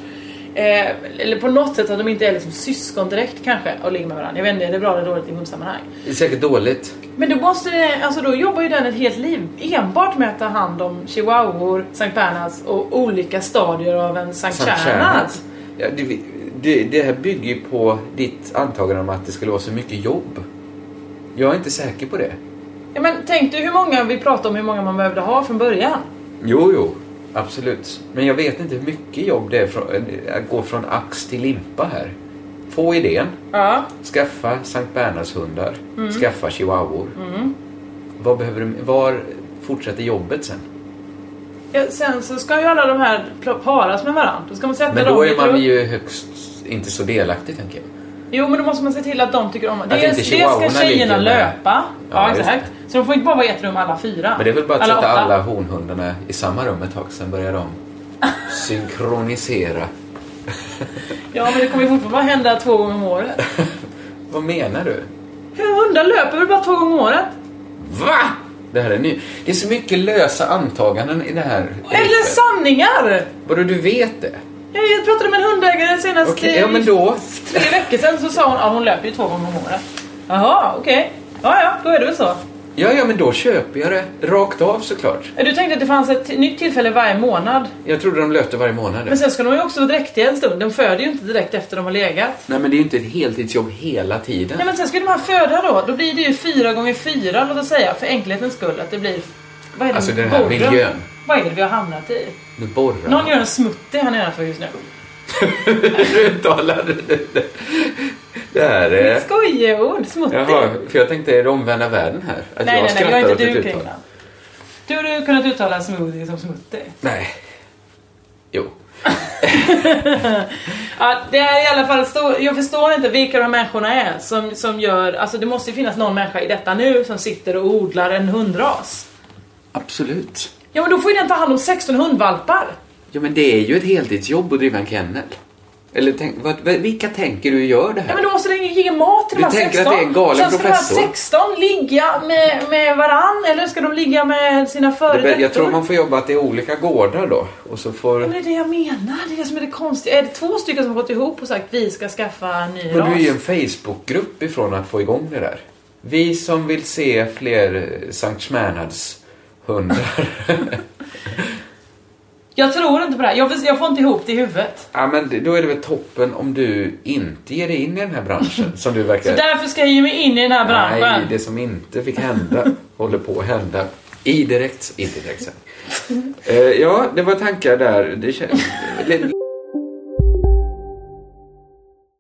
Eh, eller på något sätt att de inte är liksom syskon direkt kanske och ligger med varandra. Jag vet inte, är det bra eller dåligt i hundsammanhang? Det är säkert dåligt. Men då måste det, alltså då jobbar ju den ett helt liv enbart med att ta hand om chihuahuor, Sankt Bernhards och olika stadier av en Sankt Sankt Bernhard. Gernads. Ja, det, det, det här bygger ju på ditt antagande om att det skulle vara så mycket jobb. Jag är inte säker på det. Ja men tänk du hur många vi pratade om hur många man behövde ha från början. Jo, jo. Absolut. Men jag vet inte hur mycket jobb det är från, att gå från ax till limpa här. Få idén, Ja. skaffa Sankt Bernhardshundar, skaffa chihuahuor. Vad behöver du, var fortsätter jobbet sen? Ja, Sen så ska ju alla de här pl- paras med varandra. Då ska man sätta Men dem då i är man grupp. ju högst inte så delaktig, tänker jag. Jo men då måste man se till att de tycker om det. Att Dels, inte dels ska chihuahuorna tjejerna ligger med- löpa. Ja, Ja, just exakt. Så de får inte bara vara i ett rum alla fyra. Men det är väl bara att sätta åtta. alla honhundarna i samma rum ett tag, sen börjar de synkronisera. Ja men det kommer ju fortfarande bara hända två gånger om året. Vad menar du? Hur hundar löper väl bara två gånger om året? Va? Det här är ny. Det är så mycket lösa antaganden i det här. Eller riffet. sanningar! Vadå, du vet det? Jag jag pratade med en hundägare senast Okej, i ja men då. tre veckor sedan så sa hon att hon löper ju två gånger om året. Jaha, okej. Ja, ja, då är det väl så. Ja, ja, men då köper jag det. Rakt av såklart. Du tänkte att det fanns ett nytt tillfälle varje månad. Jag trodde de löpte varje månad. Men sen ska de ju också vara dräktiga en stund. De föder ju inte direkt efter de har legat. Nej, men det är ju inte ett heltidsjobb hela tiden. Nej men sen ska de här föda då. Då blir det ju fyra gånger fyra låt oss säga. För enkelhetens skull. Att det blir... Vad är det Alltså, med den här borren? miljön. Vad är det vi har hamnat i? Nu borrar Någon man. *laughs* gör en smoothie här nedanför just nu. Du uttalade det. där. Det här Det är ett är... skojeord, smoothie. Jaha, för jag tänkte är det omvända världen här? Att jag Nej, nej, nej, skrattar jag är åt inte ett du uttal. kringlan. Du har ju kunnat uttala smoothie som smoothie. Nej. Jo. Ja, det är i alla fall stor, jag förstår inte vilka de här människorna är som, som gör, alltså det måste ju finnas någon människa i detta nu som sitter och odlar en hundras. Absolut. Ja men då får ju den ta hand om 16 hundvalpar. Ja, men det är ju ett heltidsjobb att driva en kennel. Eller tänk, vad, vad- vilka tänker du gör det Ja här? men då måste den ju ge mat till Du de här 16. tänker att det är en galen Sen ska professor? de här 16 ligga med, med varann eller ska de ligga med sina Det före bä- jag tror detta? man får jobba att det är olika gårdar då. Och så får... Ja, men det är det jag menar, det är det som är det konstiga. Är det två stycken som har gått ihop och sagt vi ska skaffa en ny Men du är ras? ju en Facebookgrupp ifrån att få igång det där. Vi som vill se fler eh, Sankt Schmernads *laughs* hundar. *laughs* Jag tror inte på det här, jag, jag får inte ihop det i huvudet. ja, men det- då är det väl toppen om du inte ger dig in i den här branschen som du verkar... Så därför ska jag ge mig in i den här branschen. Nej, det som inte fick *laughs* hända håller på att hända. I direkt, inte direkt sen. Eh, ja, det var tankar där. Det känns...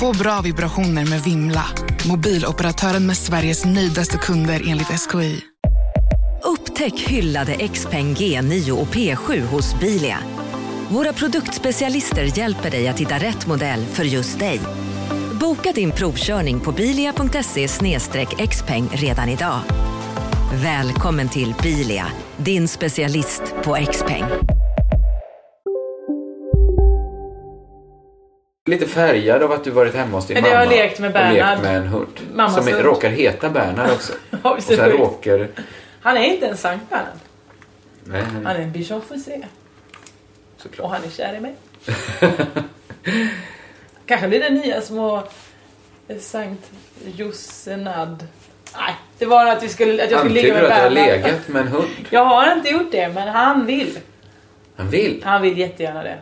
Få bra vibrationer med Vimla. Mobiloperatören med Sveriges nöjdaste kunder enligt SKI. Upptäck hyllade XPeng G9 och P7 hos Bilia. Våra produktspecialister hjälper dig att hitta rätt modell för just dig. Boka din provkörning på bilia.se xpeng redan idag. Välkommen till Bilia, din specialist på X-peng. Lite färgad av att du varit hemma hos din Men mamma. jag har lekt med och Bernhard. lekt med en hund. Mammas som hund. råkar heta Bernhard också. *laughs* Ja, och visst är sen det sjukt. råkar... Han är inte en Sankt Bernhard. Nej, Han är en bischoffossé. Såklart. Och han är kär i mig. *laughs* Kanske blir det nya små eh, Sankt Josenad. Nej, det var att, vi skulle, att jag skulle ligga Antyder med att du har Bernhard. legat med en hund? Jag har inte gjort det, men han vill. Han vill? Han vill jättegärna det.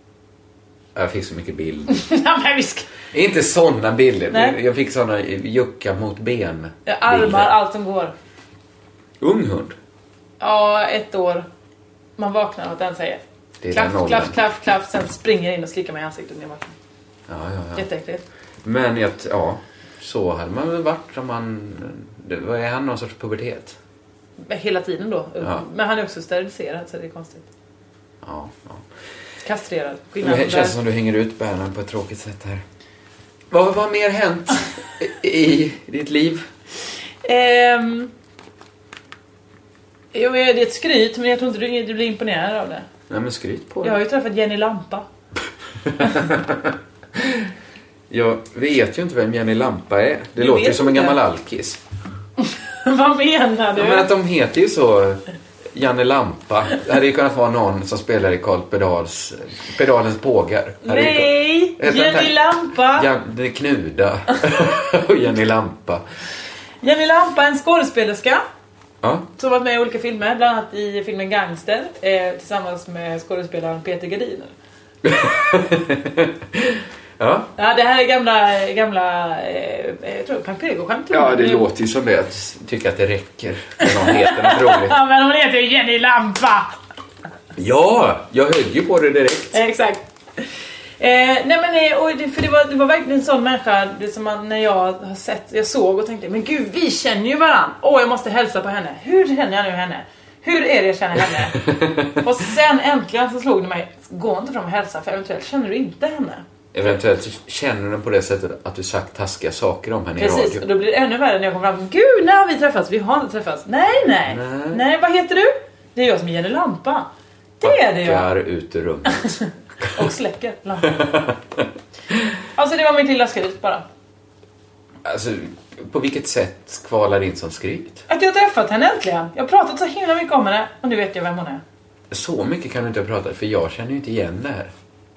*laughs* Jag fick så mycket bild. Nej, men vi ska, Inte sådana bilder. Nej. Jag fick sådana jucka mot ben. armar, bilder. allt som går. Ung hund. Ja, ett år. Man vaknar och att den säger Det är den klaff, åldern. klaff, klaff, klaff. Sen springer jag in och slickar mig i ansiktet när jag vaknar. Ja, ja, ja. Jätteäckligt. Men jag, t- ja, så hade man väl varit om man... Det, vad är han någon sorts pubertet? Men Hela tiden då. Ja. Men han är också steriliserad så det är konstigt. Ja, ja. Kastrerad. Skillnad Det känns där. som du hänger ut Bernhard på ett tråkigt sätt här. Vad vad har mer hänt i, i ditt liv? Ehm, jo, men det är ett skryt men jag tror inte du, du blir imponerad av det. Nej men skryt på Jag har det. ju träffat Jenny Lampa. *laughs* Jag vet ju inte vem Jenny Lampa är. Det Du låter ju vet som en inte. gammal alkis. Vad menar du? Ja, men att de heter ju så. Janne Lampa. Det hade ju kunnat vara någon som spelar i Karl Pedals, Pedalens pågar. Hade ju Nej! Vänta, Jenny vänta. Lampa! kunnat- Janne Knuda *laughs* och Jenny Lampa. Jenny Lampa är en skådespelerska. Ja. Som varit med i olika filmer, bland annat i filmen Gangster eh, tillsammans med skådespelaren Peter Gardiner. Ja. Ja, det här är gamla, gamla eh, jag tror Pampego-skämt. tror ja, jag. det låter ju som det. Att tycka att det räcker. När någon heter något roligt. Ja, men hon heter ju Jenny Lampa! Ja, jag höll ju på det direkt. *laughs* *laughs* Eh, Exakt. Eh, nej men, eh, och det, för det var, det var verkligen en sån människa det som man, när jag har sett, jag såg och tänkte men gud vi känner ju varann. Åh jag måste hälsa på henne. Hur känner jag nu henne? Hur är det jag känner henne? och sen äntligen så slog det mig, gå inte fram och hälsa för eventuellt känner du inte henne. Eventuellt så känner du den på det sättet att du sagt taskiga saker om henne i Precis, radio. och då blir det ännu värre när jag kommer fram. Gud, när har vi träffats? Vi har inte träffats. Nej, nej. Nej, vad heter du? Det är jag som ger dig lampa. Det är det jag. Backar ut ur rummet. Och släcker lampan. alltså det var mitt lilla skryt bara. Alltså, på vilket sätt kvalar det in som skryt? Att jag har träffat henne äntligen. Jag har pratat så himla mycket om henne och nu vet jag vem hon är. Så mycket kan du inte ha pratat, för jag känner ju inte igen det här.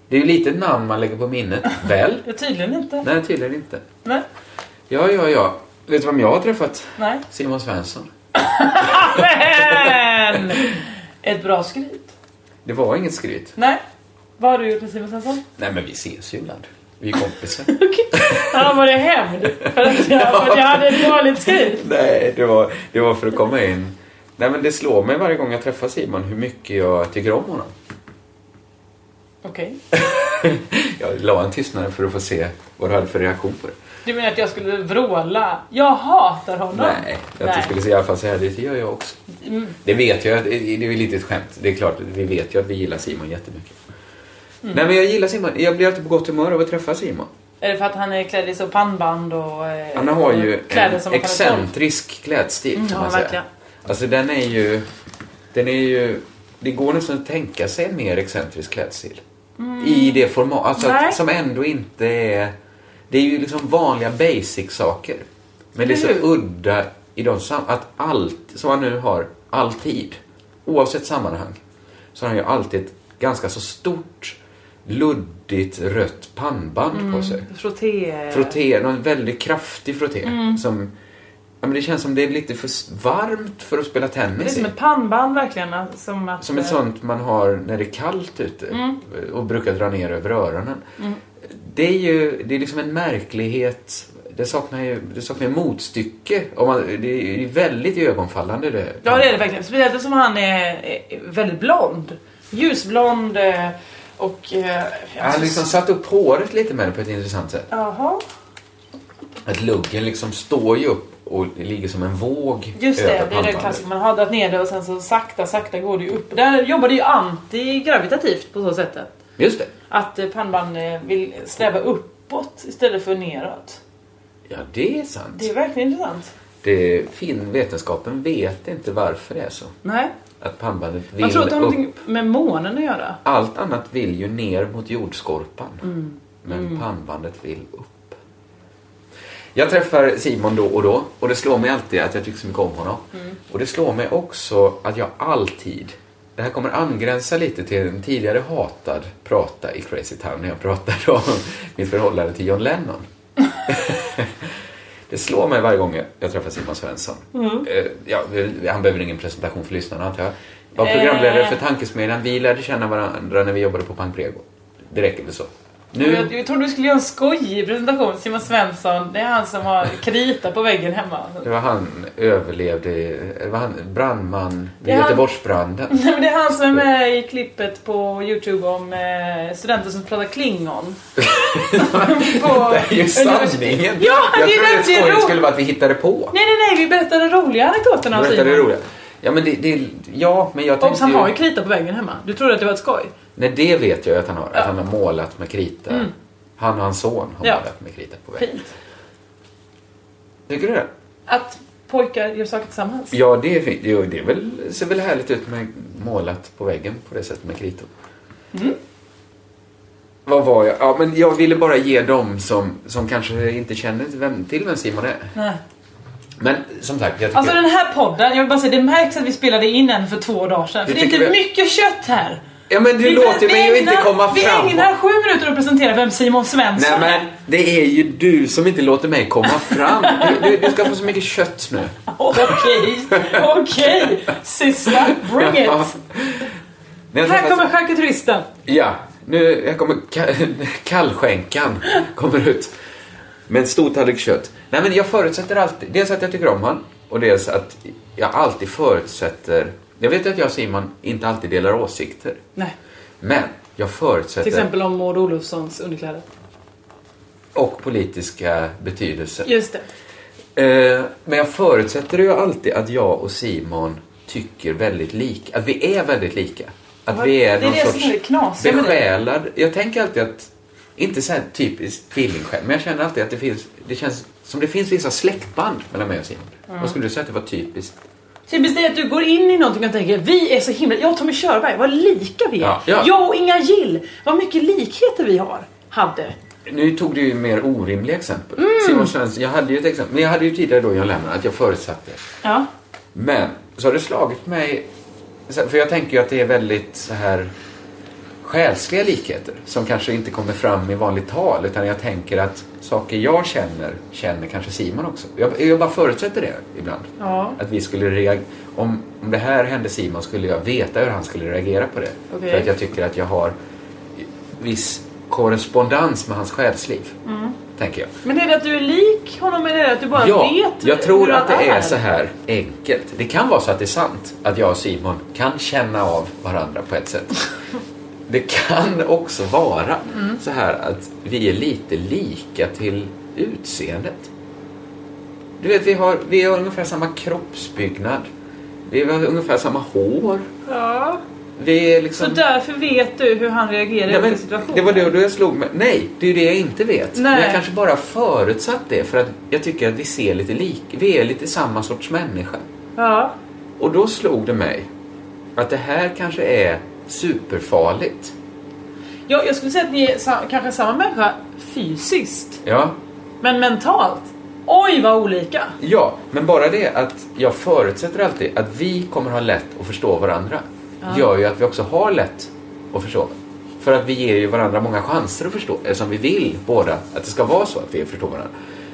Det är ju lite ett namn man lägger på minnet, väl? Ja, tydligen inte. Nej, tydligen inte. Nej. Ja, ja, ja. Vet du vem jag har träffat? Nej. Simon Svensson. Men! Ett bra skryt. Det var inget skryt. Nej. Vad har du gjort med Simon Svensson? Nej, men vi ses ju ibland. Vi är kompisar. Han var i hämnd för att jag, för att jag hade ett dåligt skryt. Nej, det var, det var för att komma in. Nej, men det slår mig varje gång jag träffar Simon hur mycket jag tycker om honom. *laughs* Okej. Jag la en tystnad för att få se vad du hade för reaktion på det. Du menar att jag skulle vråla? Jag hatar honom. Nej, jag Nej. skulle i alla fall säga det gör jag också. Mm. Det vet jag, det är ju lite ett skämt. Det är klart, vi vet ju att vi gillar Simon jättemycket. Mm. Nej men jag gillar Simon, jag blir alltid på gott humör av att träffa Simon. Är det för att han är klädd i så pannband och eh, Han har ju kläder en som excentrisk klädstil Mm, kan ja, man säga. verkligen. Alltså den är ju, den är ju, det går nästan att tänka sig en mer excentrisk klädstil. Mm. I det format, alltså Nej. att, som ändå inte är, det är ju liksom vanliga basic saker. Men det är så Eller hur? udda i de sam- att allt, som han nu har, alltid, oavsett sammanhang, så har han ju alltid ett ganska så stort, luddigt rött pannband Mm. på sig. Frotté... Frotté, någon väldigt kraftig frotté. Mm. Som, ja, men det känns som det är lite för s- varmt för att spela Det är tennis som i. ett pannband verkligen. att- Som, att, Som ett sånt man har när det är kallt ute Mm. och brukar dra ner över öronen. Mm. Det är ju det är liksom en märklighet. Det saknar ju det saknar ju motstycke. Om man, det är ju väldigt ögonfallande det. Ja det är det verkligen. Speciellt som han är eh, väldigt blond. Ljusblond eh, och... eh, Han liksom satt upp håret lite med det på ett intressant sätt. Jaha. Att luggen liksom står ju upp och ligger som en våg Just över det, det är den pannbandet. klassiken. Man har dragit ner det och sen så sakta, sakta går det ju upp. Där jobbar det ju antigravitativt på så sättet. Just det. Att eh, pannband eh, vill sträva upp uppåt istället för neråt. Ja, det är sant. Det är verkligen intressant. Det fin, vetenskapen vet inte varför det är så. Nej. Att pannbandet vill Man tror att det har upp. någonting med månen att göra. Allt annat vill ju ner mot jordskorpan. Mm. Men Mm. pannbandet vill upp. Jag träffar Simon då och då och det slår mig alltid att jag tycker så mycket om honom. Mm. Och det slår mig också att jag alltid, det här kommer angränsa lite till en tidigare hatad prata i Crazy Town när jag pratade om *laughs* mitt förhållande till John Lennon. *laughs* det slår mig varje gång jag träffar Simon Svensson. Mm. Eh, Ja, han behöver ingen presentation för lyssnarna antar jag. Var programledare Eh. för Tankesmedjan. Vi lärde känna varandra när vi jobbade på Pankrego. Det räcker väl så. Nu... Jag, Nu, jag trodde du skulle göra en skojig presentation. Simon Svensson, det är han som har krita på väggen hemma. det var han överlevde, det var han brandman Det vid är han- Göteborgsbranden. Nej, men det är han som är med i klippet på Youtube om eh, studenter som pratar *laughs* klingon. Det är ju sanningen! Ja, jag trodde att det är verkligen skojet roligt. skulle vara att vi hittade på. Nej, nej, nej, vi berättar den roliga anekdoten av Berätta Simon. det roliga. Ja, men det, det, ja, men jag Obs, tänkte han har ju ju... krita på väggen hemma. Du trodde att det var ett skoj? Nej, det vet jag ju att han har. Att han har målat med krita. Mm. Han och hans son har Ja. målat med krita på väggen. Fint. Tycker du det? Att pojkar gör saker tillsammans. Ja, det, är fint. Jo, det är väl, ser väl härligt ut med målat på väggen på det sättet med kritor. Mm. Vad var jag? Ja, men jag ville bara ge dem som, som kanske inte känner vem, till vem Simon är. Nej. Men som sagt, jag tycker... Alltså den här podden, jag vill bara säga det märks att vi spelade in den för två dagar sedan. För Vi det är inte tycker vi- mycket kött här. ja, men du Vi- låter vi mig ju inte ägnar- komma Vi fram. ägnar sju minuter att presentera vem Simon Nej, Svensson är. *laughs* men det är ju du som inte låter mig komma fram. Du, du, du ska få så mycket kött nu. Okej, okej. Sista, bring it. När jag Här träffas- kommer charkuteristen. Ja, nu här kommer ka- *laughs* kallskänkan kommer ut. Med en stor tallrik kött. Nej men jag förutsätter alltid, dels att jag tycker om honom och dels att jag alltid förutsätter, jag vet att jag och Simon inte alltid delar åsikter. Nej. Men jag förutsätter, Till exempel om Maud Olofssons underkläder. och politiska betydelse. Just det. Eh, men jag förutsätter ju alltid att jag och Simon tycker väldigt lika, att vi är väldigt lika. Att vi är det någon är det sorts... som är det knasiga med det. besjälad. Jag tänker alltid att, inte så här typiskt tvillingsjäl, men jag känner alltid att det finns, det känns som det finns vissa släktband mellan mig och Simon. Mm. Vad skulle du säga att det var typiskt? Typiskt det är att du går in i någonting och tänker vi är så himla... Jag och Tommy Körberg, vad lika vi är. Ja, ja. Jag och Inga Gill, vad mycket likheter vi har. Hade. Nu tog du ju mer orimliga exempel. Mm. Simon Svensson, jag hade ju ett exempel, men jag hade ju tidigare då John Lennon, att jag förutsatte. Ja. Men så har det slagit mig, så- för jag tänker ju att det är väldigt så här själsliga likheter som kanske inte kommer fram i vanligt tal utan jag tänker att saker jag känner, känner kanske Simon också. Jag, jag bara förutsätter det ibland. Ja. Att vi skulle reagera, om, om det här hände Simon skulle jag veta hur han skulle reagera på det. Okej. För att jag tycker att jag har viss korrespondens med hans själsliv, Mm. tänker jag. Men är det att du är lik honom eller är det att du bara Ja, vet jag tror hur att det han är så här enkelt. Det kan vara så att det är sant att jag och Simon kan känna av varandra på ett sätt. Det kan också vara Mm. så här att vi är lite lika till utseendet. Du vet, vi har, vi har ungefär samma kroppsbyggnad. Vi har ungefär samma hår. Ja. Vi är Så liksom... därför vet du hur han reagerar i Nej, olika men situationer. det var det då jag slog mig. Nej, det är ju det jag inte vet. Nej. Men jag kanske bara förutsatt det för att jag tycker att vi ser lite lik. Vi är lite samma sorts människa. Ja. Och då slog det mig att det här kanske är superfarligt. Ja, jag skulle säga att ni är sa- kanske samma människa fysiskt, Ja, men mentalt. Oj vad olika! ja, men bara det att jag förutsätter alltid att vi kommer ha lätt att förstå varandra Ja. gör ju att vi också har lätt att förstå. För att vi ger ju varandra många chanser att förstå eftersom vi vill båda att det ska vara så att vi förstår varandra.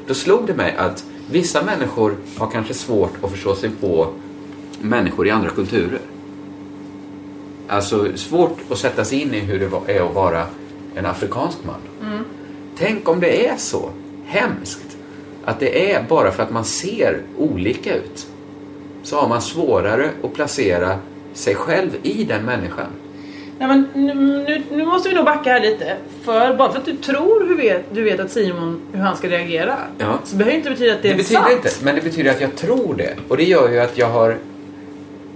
Då slog det mig att vissa människor har kanske svårt att förstå sig på människor i andra kulturer. Alltså svårt att sätta sig in i hur det va- är att vara en afrikansk man. Mm. Tänk om det är så hemskt att det är bara för att man ser olika ut så har man svårare att placera sig själv i den människan. Nej, men nu, nu, nu måste vi nog backa här lite. För bara för att du tror hur vet, du vet att Simon hur han ska reagera Ja. så behöver ju inte betyda att det, Det är betyder sant. inte, men det betyder att jag tror det. Och det gör ju att jag har...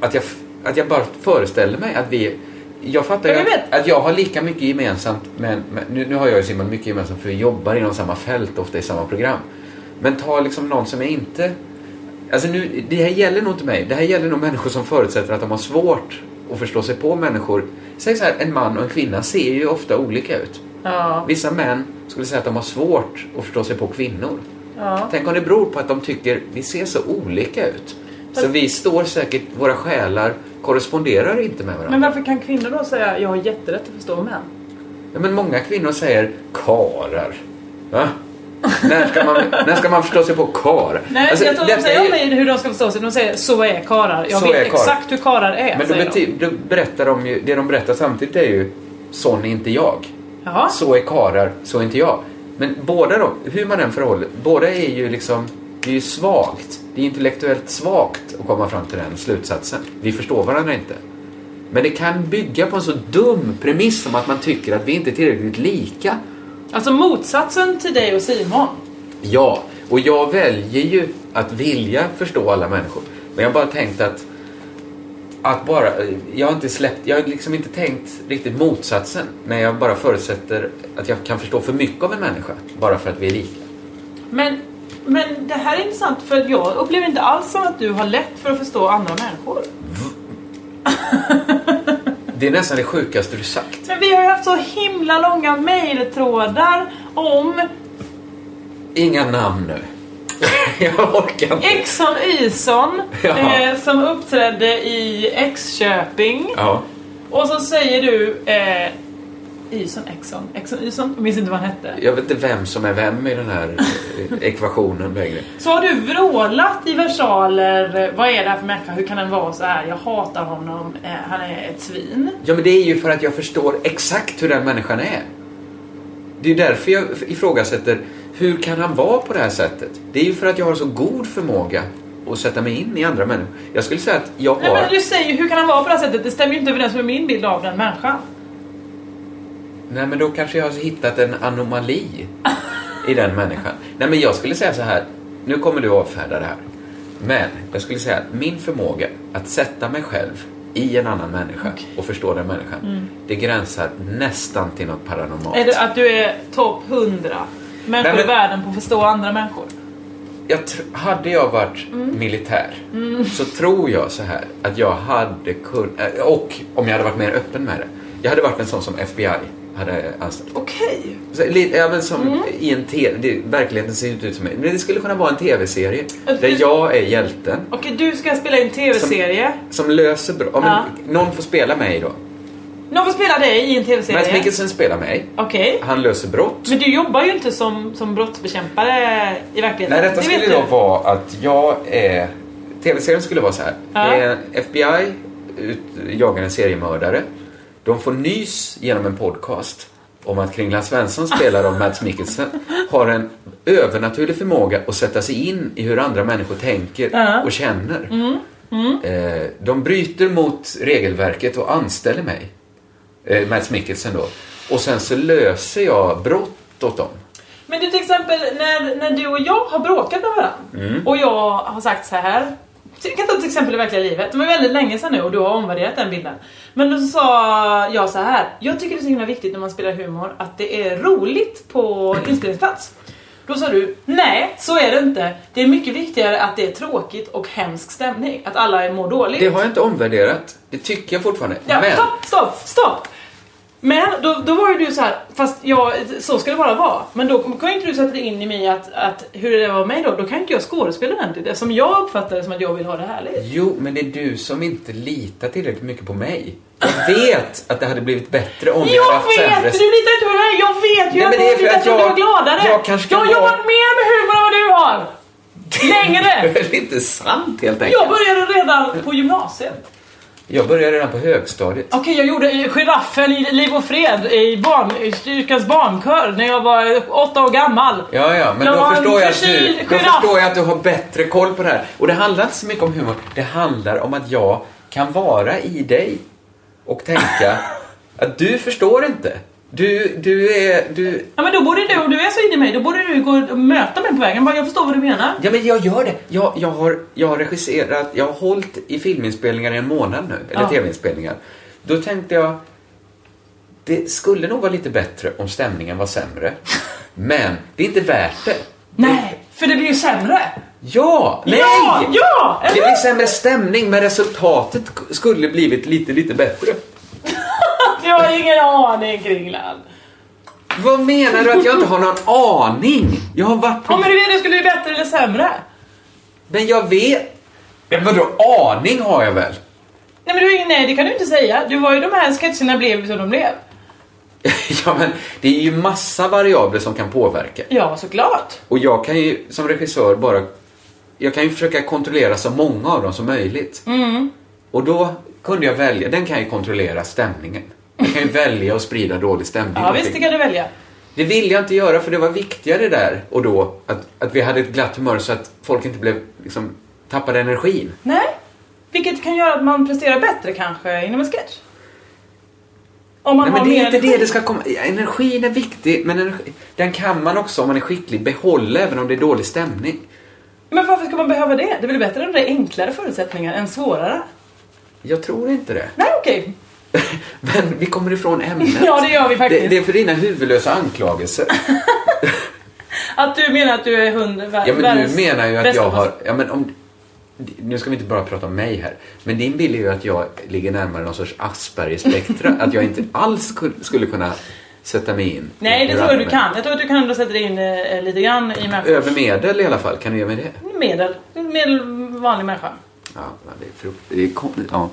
Att jag, att jag bara föreställer mig att vi... jag fattar ju Men jag att, att jag har lika mycket gemensamt, men, men nu, nu har jag ju Simon mycket gemensamt för vi jobbar inom samma fält, ofta i samma program. Men ta liksom någon som är inte... Alltså nu, det här gäller nog inte mig. Det här gäller nog människor som förutsätter att de har svårt att förstå sig på människor. Säg så här, en man och en kvinna ser ju ofta olika ut. Ja. Vissa män skulle säga att de har svårt att förstå sig på kvinnor. ja. Tänk om det beror på att de tycker vi ser så olika ut. Så vi står säkert, våra själar korresponderar inte med varandra. Men varför kan kvinnor då säga jag har jätterätt att förstå män? Ja, men många kvinnor säger karar. Va? när, ska man, när ska man förstå sig på kar? Nej, Alltså, jag tror de detta säger är- om mig hur de ska förstå sig. De säger så är karar. Jag Så är vet karlar." exakt hur karar är. Men då, säger de. bety- då berättar de ju, det de berättar samtidigt är ju sån är inte jag. Jaha. Så är karar, så är inte jag. Men båda de, hur man än förhåller, båda är ju liksom, det är ju svagt. Det är intellektuellt svagt att komma fram till den slutsatsen. Vi förstår varandra inte. Men det kan bygga på en så dum premiss som att man tycker att vi inte är tillräckligt lika. Alltså motsatsen till dig och Simon. Ja, och jag väljer ju att vilja förstå alla människor. Men jag har bara tänkt att, att bara, jag har inte släppt, jag har liksom inte tänkt riktigt motsatsen. När jag bara förutsätter att jag kan förstå för mycket av en människa. Bara för att vi är lika. Men, men det här är intressant för jag upplever inte alls som att du har lätt för att förstå andra människor. Det är nästan det sjukaste du sagt. Men vi har ju haft så himla långa mejltrådar om Inga namn nu. *laughs* jag orkar inte. Exxon Yson Ja. eh, som uppträdde i X-Köping. Ja. Och så säger du eh, Yson, Exxon, Exxon Yson, jag minns inte vad han hette. Jag vet inte vem som är vem i den här eh, ekvationen längre. Så har du vrålat i versaler, eh, vad är det här för människa, hur kan den vara så här? jag hatar honom, eh, han är ett svin. Ja, men det är ju för att jag förstår exakt hur den människan är. Det är ju därför jag ifrågasätter, hur kan han vara på det här sättet? Det är ju för att jag har så god förmåga att sätta mig in i andra människor. Jag skulle säga att jag Nej men har... du säger hur kan han vara på det här sättet? Det stämmer ju inte överens med min bild av den människan. Nej, men då kanske jag har hittat en anomali i den människan. Nej, men jag skulle säga så här, nu kommer du avfärda det här. Men jag skulle säga att min förmåga att sätta mig själv i en annan människa och förstå den människan, Mm. det gränsar nästan till något paranormalt. Är det att du är topp 100 Nej, människor men- i världen på att förstå andra människor? jag tr- hade jag varit militär så tror jag så här att jag hade kunnat, och om jag hade varit mer öppen med det, jag hade varit en sån som FBI hade anställt. Okej. Så, li- ja, men som i en tv, det, verkligheten ser ju inte ut som mig, men det skulle kunna vara en tv-serie där jag är hjälten Okej, du ska spela in tv-serie. som löser bra, om Ja. någon får spela mig då. Någon får spela dig i en Mads tv-serie. Mikkelsen spelar mig, Okej. han löser brott. Men du jobbar ju inte som, som brottsbekämpare i verkligheten. Nej, detta Det vet skulle då du. vara att jag är... TV-serien skulle vara så här. Ja. Eh, FBI ut, jagar en seriemördare. De får nys genom en podcast om att Kringlan Svensson, spelad av Mads Mikkelsen, har en övernaturlig förmåga att sätta sig in i hur andra människor tänker Ja. och känner. Mm. Mm. Eh, de bryter mot regelverket och anställer mig. Eh, Mads Mikkelsen då. Och sen så löser jag brott åt dem. Men du till exempel när, när du och jag har bråkat med varandra Mm. och jag har sagt så här. Vi kan ta ett exempel i verkliga livet. Det var väldigt länge sedan nu och du har omvärderat den bilden. Men då sa jag så här. Jag tycker det är så himla viktigt när man spelar humor att det är roligt *clears throat* på inspelningsplats. Då sa du, nej så är det inte. Det är mycket viktigare att det är tråkigt och hemsk stämning. Att alla mår dåligt. Det har jag inte omvärderat. Det tycker jag fortfarande. Ja, men, stopp, stopp, stopp! Men då, då var ju du så här, fast ja, så ska det bara vara. Men då kan ju inte du sätta dig in i mig att, att hur det var med mig då, då kan ju inte jag skådespela ordentligt eftersom jag uppfattar det som att jag vill ha det härligt. jo, men det är du som inte litar tillräckligt mycket på mig. Jag vet att det hade blivit bättre om vi hade Jag haft sämre... vet! Du litar inte på mig, jag vet ju! Nej, Jag men det är vet för att att jag jag- var gladare! jag kanske kan har vara- jobbat mer med humor än vad du har! *laughs* Längre! Det är väl inte sant helt enkelt. Jag började redan på gymnasiet. Jag började redan på högstadiet. Okej, jag gjorde eh, giraffen i Liv och Fred i barn, styrkans barnkör när jag var eh, åtta år gammal. Ja, ja, men Jag var då förstår, en jag att du, förkyld då giraff. förstår jag att du har bättre koll på det här. Och det handlar inte så mycket om humor. Det handlar om att jag kan vara i dig och *laughs* tänka att du förstår inte. Du, du är... Du, Ja men då borde du, om du är så inne i mig, då borde du gå och möta mig på vägen. Bara, jag förstår vad du menar. Ja, men jag gör det. Jag, jag, har, jag har regisserat, jag har hållit i filminspelningar i en månad nu, eller Ja. tv-inspelningar. Då tänkte jag, det skulle nog vara lite bättre om stämningen var *laughs* sämre. Men det är inte värt det. Nej, för det blir ju sämre. Ja! Nej! Ja, ja, det blir sämre stämning, men resultatet skulle blivit lite, lite bättre. Du har ingen aning Kringland. Vad menar du att jag inte har någon aning? Jag har varit på... Ja men du vet, det skulle bli bättre eller sämre. Men jag vet... Men vadå, aning har jag väl? Nej men du, har ingen- nej det kan du inte säga. Du var ju de här sketcherna blev som de blev. *laughs* Ja, men det är ju massa variabler som kan påverka. Ja såklart. Och jag kan ju som regissör bara... Jag kan ju försöka kontrollera så många av dem som möjligt. Mm. Och då kunde jag välja, den kan ju kontrollera stämningen. Jag *laughs* kan ju välja att sprida dålig stämning. Ja visst det kan du välja. Det ville jag inte göra för det var viktigare där och då att, att vi hade ett glatt humör så att folk inte blev, liksom, tappade energin. Nej. Vilket kan göra att man presterar bättre kanske inom en sketch. Om man Nej, men har det är mer inte det det ska komma. Energin är viktig, men energi, den kan man också om man är skicklig behålla även om det är dålig stämning. Men varför ska man behöva det? Det blir bättre om det är enklare förutsättningar än svårare. Jag tror inte det. *laughs* Nej okej. Men vi kommer ifrån ämnet. Ja, det gör vi faktiskt. Det, det är för dina huvudlösa *laughs* anklagelser. Att du menar att du är hund... Ja, men du menar ju att jag har... Ja, men om, nu ska vi inte bara prata om mig här. Men din bild är ju att jag ligger närmare någon sorts Asperger-spektra. att jag inte alls ku- skulle kunna sätta mig in. i Nej, det hur tror jag andra du kan. Jag tror att du kan ändå sätta dig in eh, lite grann i människor- människor. Över medel i alla fall, kan du ge mig det? Medel. Medel vanlig människa. Ja, men det är, fru- det är kon- ja.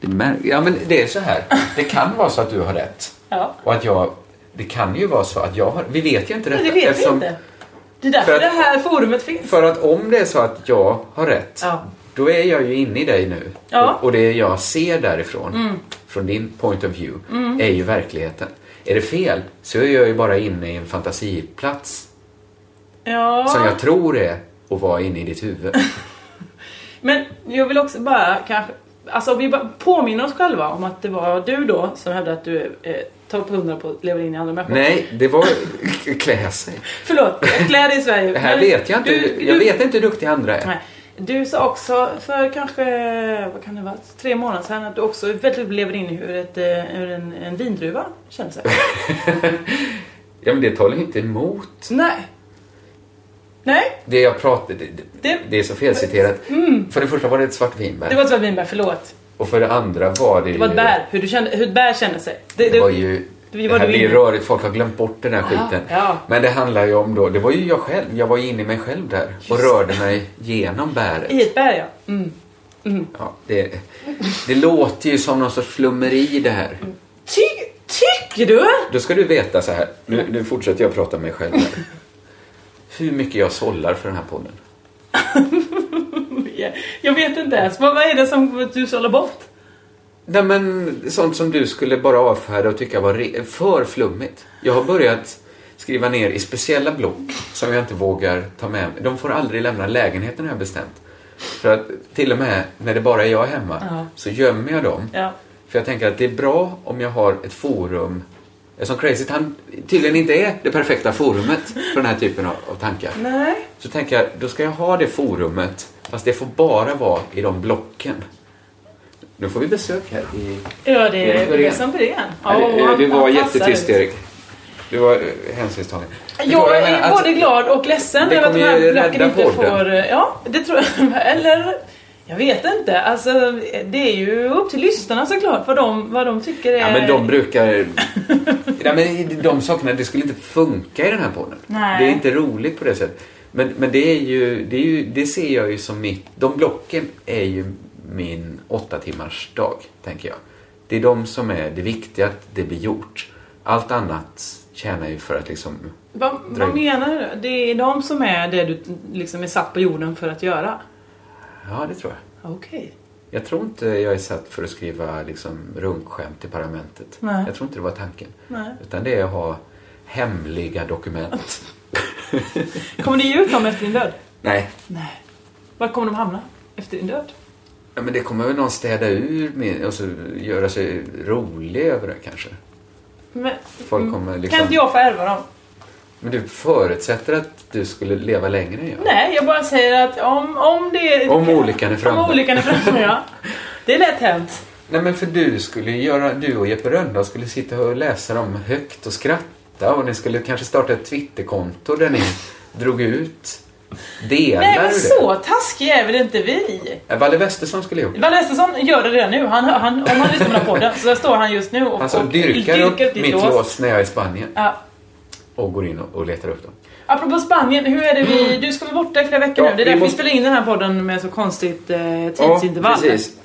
Det är mär- ja, men det är så här. Det kan vara så att du har rätt. Ja. Och att jag... Det kan ju vara så att jag har... Vi vet ju inte Men detta. det vet eftersom- vi inte. Det är därför För att- det här forumet finns. För att om det är så att jag har rätt, Ja. då är jag ju inne i dig nu. Ja. Och, och det jag ser därifrån, Mm. från din point of view, Mm. är ju verkligheten. Är det fel så är jag ju bara inne i en fantasiplats Ja. som jag tror är att vara inne i ditt *laughs* huvud. Men jag vill också bara kanske... Alltså om vi bara påminner oss själva om att det var du då som hävdade att du eh, tar upp hundra på att leva in i andra människor. Nej, det var klä sig. Förlåt, jag klär dig i Sverige. Det här Men vet jag inte. du- jag du- vet inte hur duktig andra är. Nej. Du sa också för kanske, vad kan det vara, tre månader sedan att du också väldigt lever in i hur, ett, eh, hur en, en vindruva *laughs* känner sig. Ja, men det talar ju inte emot Nej. Nej. det jag pratar. Det, Det- det, det är så felciterat. Mm. För det första var det ett svart vinbär. Det var ett svart vinbär, förlåt. Och för det andra var det, Det var ett ju- bär, hur, du kände, hur ett bär känner sig. Det, var ju... det Det, var här du blir ju inne. rörigt, folk har glömt bort den här skiten. ja. Men det handlar ju om då, det var ju jag själv, jag var ju inne i mig själv där och rörde mig genom bäret. I ett bär ja. Mm. Mm. Ja, det, det låter ju som någon sorts flummeri det här. Ty, tycker du? Då ska du veta så här, nu, nu fortsätter jag prata med mig själv *laughs* här. Hur mycket jag sållar för den här podden. Jag vet inte ens, vad, vad är det som du sållar bort? Nej men sånt som du skulle bara avfärda och tycka var re- för flummigt. Jag har börjat skriva ner i speciella block som jag inte vågar ta med mig. De får aldrig lämna lägenheten har jag bestämt. För att till och med när det bara är jag hemma Ja. så gömmer jag dem. Ja. För jag tänker att det är bra om jag har ett forum Eftersom Crazy han tydligen inte är det perfekta forumet för den här typen av, av tankar. Nej. Så tänker jag, då ska jag ha det forumet, fast det får bara vara i de blocken. Nu får vi besök här i... Ja, det Erik är Norén. det som blir igen. Nej, Åh, det- han- du var han passar jättetyst, ut. Erik. Du var eh, hänsynstagen. Jag är alltså- både glad och ledsen det över att de kommer här ju blocken rädda inte podden. får... Ja, det tror jag. *laughs* Eller? Jag vet inte. Alltså, det är ju upp till lyssnarna såklart vad de, vad de tycker är... Ja, men de *laughs* brukar... Nej, men de sakerna, det skulle inte funka i den här podden. Nej. Det är inte roligt på det sättet. Men, men det, är ju, det är ju, det ser jag ju som mitt... De blocken är ju min åtta timmars dag, tänker jag. Det är de som är det viktiga, att det blir gjort. Allt annat tjänar ju för att liksom... Vad, dra vad in. menar du? Det är de som är det du liksom är satt på jorden för att göra? Ja, det tror jag. Okej. Jag tror inte jag är satt för att skriva liksom, runkskämt i parlamentet. Nej. Jag tror inte det var tanken. Nej. Utan det är att ha hemliga *laughs* dokument. Kommer det ge ut dem efter din död? Nej, Nej. Var kommer de hamna? Efter din död? ja, men det kommer väl någon städa ur med, och så göra sig rolig över det kanske. Men, Folk kommer liksom... Mm. Kan inte jag få ärva dem? Men du förutsätter att du skulle leva längre än jag? Nej, jag bara säger att om, om det... Om olyckan är framme. Om olyckan är framme, ja. Det är lätt hänt. Nej men för du skulle ju göra, du och Jeppe Rönndahl skulle sitta och läsa dem högt och skratta och ni skulle kanske starta ett Twitterkonto där ni drog ut delar Nej men ur så taskiga är väl inte vi? det. Valle Westesson skulle gjort det. Valle Estesson gör det redan nu. Han, han, om han lyssnar på den här podden så där står han just nu och, Alltså och dyrkar upp ett mitt lås när jag är i Spanien Ja. och går in och, och letar upp dem. Apropå Spanien, hur är det vi... Du ska vara borta i flera veckor Ja, nu. Det är vi därför måste- vi spelar in den här podden med så konstigt eh, tidsintervall.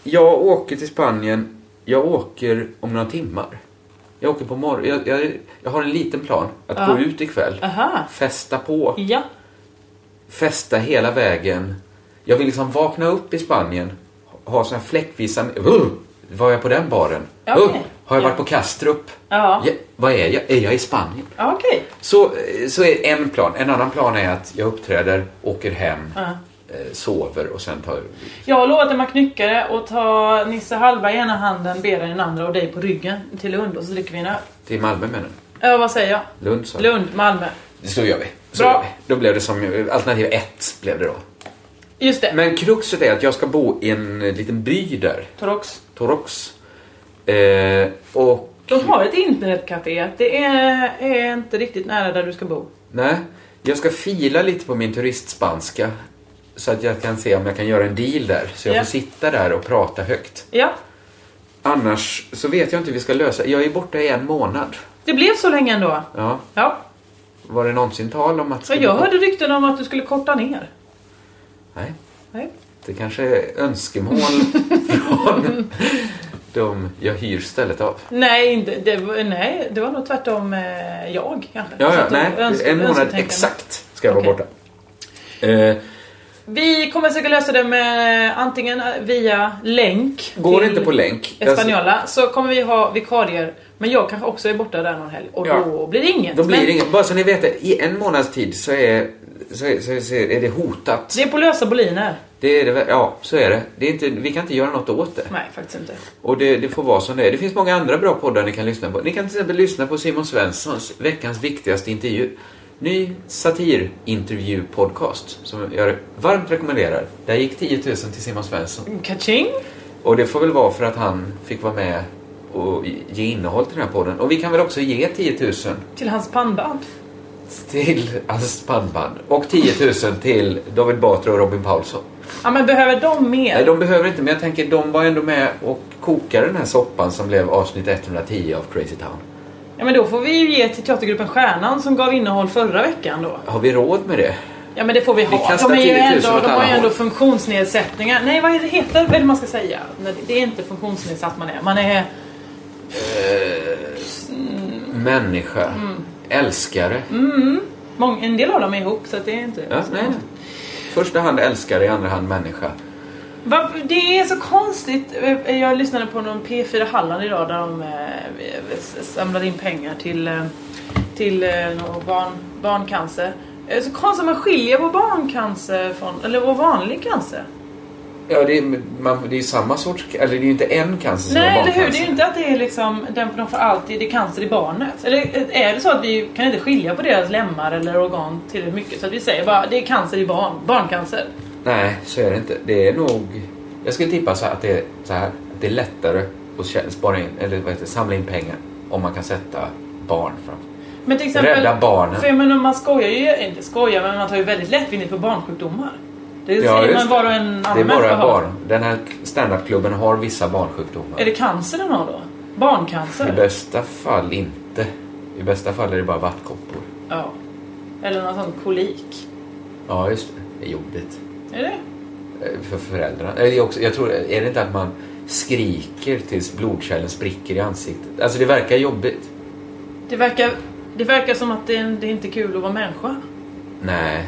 Jag åker till Spanien, jag åker om några timmar. Jag åker på morgon. Jag, jag, jag har en liten plan att Ja. gå ut ikväll, Aha. festa på. Ja. festa hela vägen. Jag vill liksom vakna upp i Spanien, ha såna här fläckvisa... Uh, var jag på den baren? Ja, Uh, okej. har jag varit på Kastrup? Ja. Ja, vad är jag? Är jag i Spanien? Ja, okej. Så, så är en plan. En annan plan är att jag uppträder, åker hem, Ja. eh, sover och sen tar... Jag har lovat Emma Knyckare att ta Nisse Hallberg i ena handen, Bera i den andra och dig på ryggen till Lund och så dricker vi en öl. Till Malmö menar Ja, vad säger jag? du? Lund sa jag. Lund, Malmö. Så gör vi. Så Bra. Gör vi. Då blev det som... Alternativ ett blev det då. Just det. Men kruxet är att jag ska bo i en eh, liten by där. Torox. Torox. Eh, och... De har ett internetcafé. Det är, är inte riktigt nära där du ska bo. Nej, jag ska fila lite på min turistspanska. Så att jag kan se om jag kan göra en deal där. Så jag Ja. får sitta där och prata högt. Ja. Annars så vet jag inte hur vi ska lösa Jag är borta i en månad. Det blev så länge ändå. Ja. Ja. Var det någonsin tal om att... Så jag hörde rykten om att du skulle korta ner. Nej. Nej. Det kanske är önskemål *laughs* *laughs* från de jag hyr stället av. Nej, inte, det, var- nej, det var nog tvärtom eh, jag kanske. Ja, Så ja, att du nej. öns- en månad önsketänkande. exakt ska jag Okej. vara borta. Eh, Vi kommer försöka lösa det med antingen via länk. går det till inte på länk. Espanola så kommer vi ha vikarier. Men jag kanske också är borta där någon helg och Ja. då blir det inget. Då blir men det inget. Bara så ni vet det, i en månads tid så är, så är, så är, så är det hotat. Det är på lösa boliner. Det är det, väl- ja, så är det. det är inte, vi kan inte göra något åt det. Nej, faktiskt inte. Och det, det får vara som det är. Det finns många andra bra poddar ni kan lyssna på. Ni kan till exempel lyssna på Simon Svenssons Veckans viktigaste intervju. Ny satirintervju-podcast som jag varmt rekommenderar. Där gick 10 000 till Simon Svensson. Kaching! Och det får väl vara för att han fick vara med och ge innehåll till den här podden. Och vi kan väl också ge 10 000 Till hans pannband. till Ass Pannband och 10 000 till David Batra och Robin Paulsson. Ja men behöver de mer? Nej, de behöver inte, men jag tänker de var ändå med och kokade den här soppan som blev avsnitt 110 av Crazy Town. Ja men då får vi ju ge till teatergruppen Stjärnan som gav innehåll förra veckan då. Har vi råd med det? Ja men det får vi Vi ha. kastar de är ju 10 000 ändå, åt de har alla ju ändå håll. funktionsnedsättningar. Nej vad är det heter väl man ska säga? Nej, det är inte funktionsnedsatt man är. Man är... Människa. Älskare. Mm, mång, en del av dem är ihop så att det är inte... Ja, nej, nej. Första hand älskare, i andra hand människa. Va, det är så konstigt. Eh, Jag lyssnade på någon P4 Halland idag där de eh, samlade in pengar till, eh, till eh, någon barn, barncancer. Eh, Så konstigt att man skiljer på barncancer från, eller på vanlig cancer. Ja, det är, man, det är samma sorts... Eller det är ju inte en cancer som Nej är eller hur, det är barncancer. ju inte att det är liksom, den, de får alltid, det är cancer i barnet. Eller eh, är det så att vi kan inte skilja på deras lemmar eller organ tillräckligt mycket så att vi säger bara det är cancer i barn, barncancer. Nej, så är det inte. Det är nog... Jag skulle tippa så här att det är, så här, att det är lättare att kä- spara in, eller vad heter, det, samla in pengar om man kan sätta barn framför. Men till exempel, Rädda barnen. För jag menar, man skojar ju, inte skojar, men man tar ju väldigt lättvindigt på barnsjukdomar. Det säger man just det. var och en Det är annan bara människa har. barn. Den här standupklubben har vissa barnsjukdomar. Är det cancer den har då? I Barncancer? bästa fall inte. I bästa fall är det bara vattkoppor. Ja. Eller någon sån kolik. Ja, just det. Det är jobbigt. Är det? Eh, För föräldrarna. Eh, det är också, jag tror, är det inte att man skriker tills blodkärlen spricker i ansiktet? Alltså det verkar jobbigt. Det verkar, det verkar som att det, är- det är inte är kul att vara människa. Nej.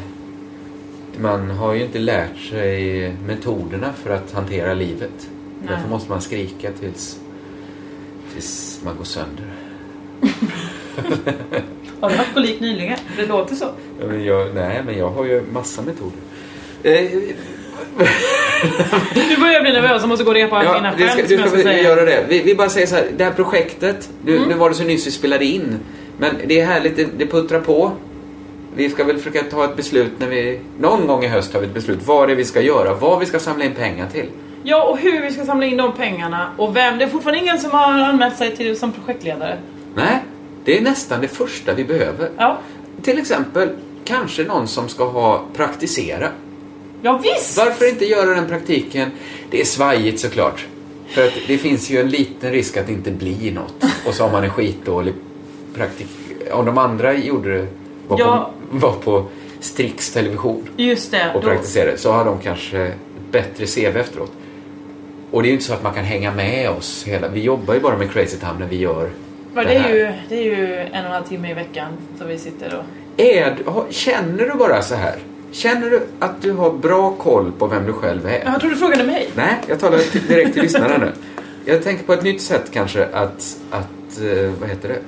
Man har ju inte lärt sig metoderna för att hantera livet. Nej. Därför måste man skrika tills, tills man går sönder. Har du haft kolik nyligen? Det låter så. Ja, men jag, nej, men jag har ju massa metoder. Eh, Du börjar bli nervös och måste gå och repa ja, dina du ska, skämt du som jag ska ska väl säga. Mm. göra det. Vi, vi bara säger så här, det här projektet, du, nu var det så nyss vi spelade in, men det är härligt, det, det puttrar på. Vi ska väl försöka ta ett beslut när vi, någon gång i höst tar vi ett beslut, vad det är vi ska göra, vad vi ska samla in pengar till. Ja, och hur vi ska samla in de pengarna och vem. Det är fortfarande ingen som har anmält sig till som projektledare. Nej, det är nästan det första vi behöver. Ja. Till exempel, kanske någon som ska ha praktisera. Ja, visst! Varför inte göra den praktiken? Det är svajigt såklart. För att det finns ju en liten risk att det inte blir något. Och så har man en skitdålig praktik. Om de andra gjorde det, var, Ja. på, var på Strix television Just det. och då- praktiserade, så har de kanske ett bättre CV efteråt. Och det är ju inte så att man kan hänga med oss hela. Vi jobbar ju bara med Crazy Town när vi gör Ja, det det, är här. ju, det är ju en och en halv timme i veckan som vi sitter och... Är, du- har- känner du bara så här? Känner du att du har bra koll på vem du själv är? Ja, Jag tror du frågade mig. Nej, jag talar till- direkt till lyssnarna nu. Jag tänker på ett nytt sätt kanske att, att eh, vad heter det?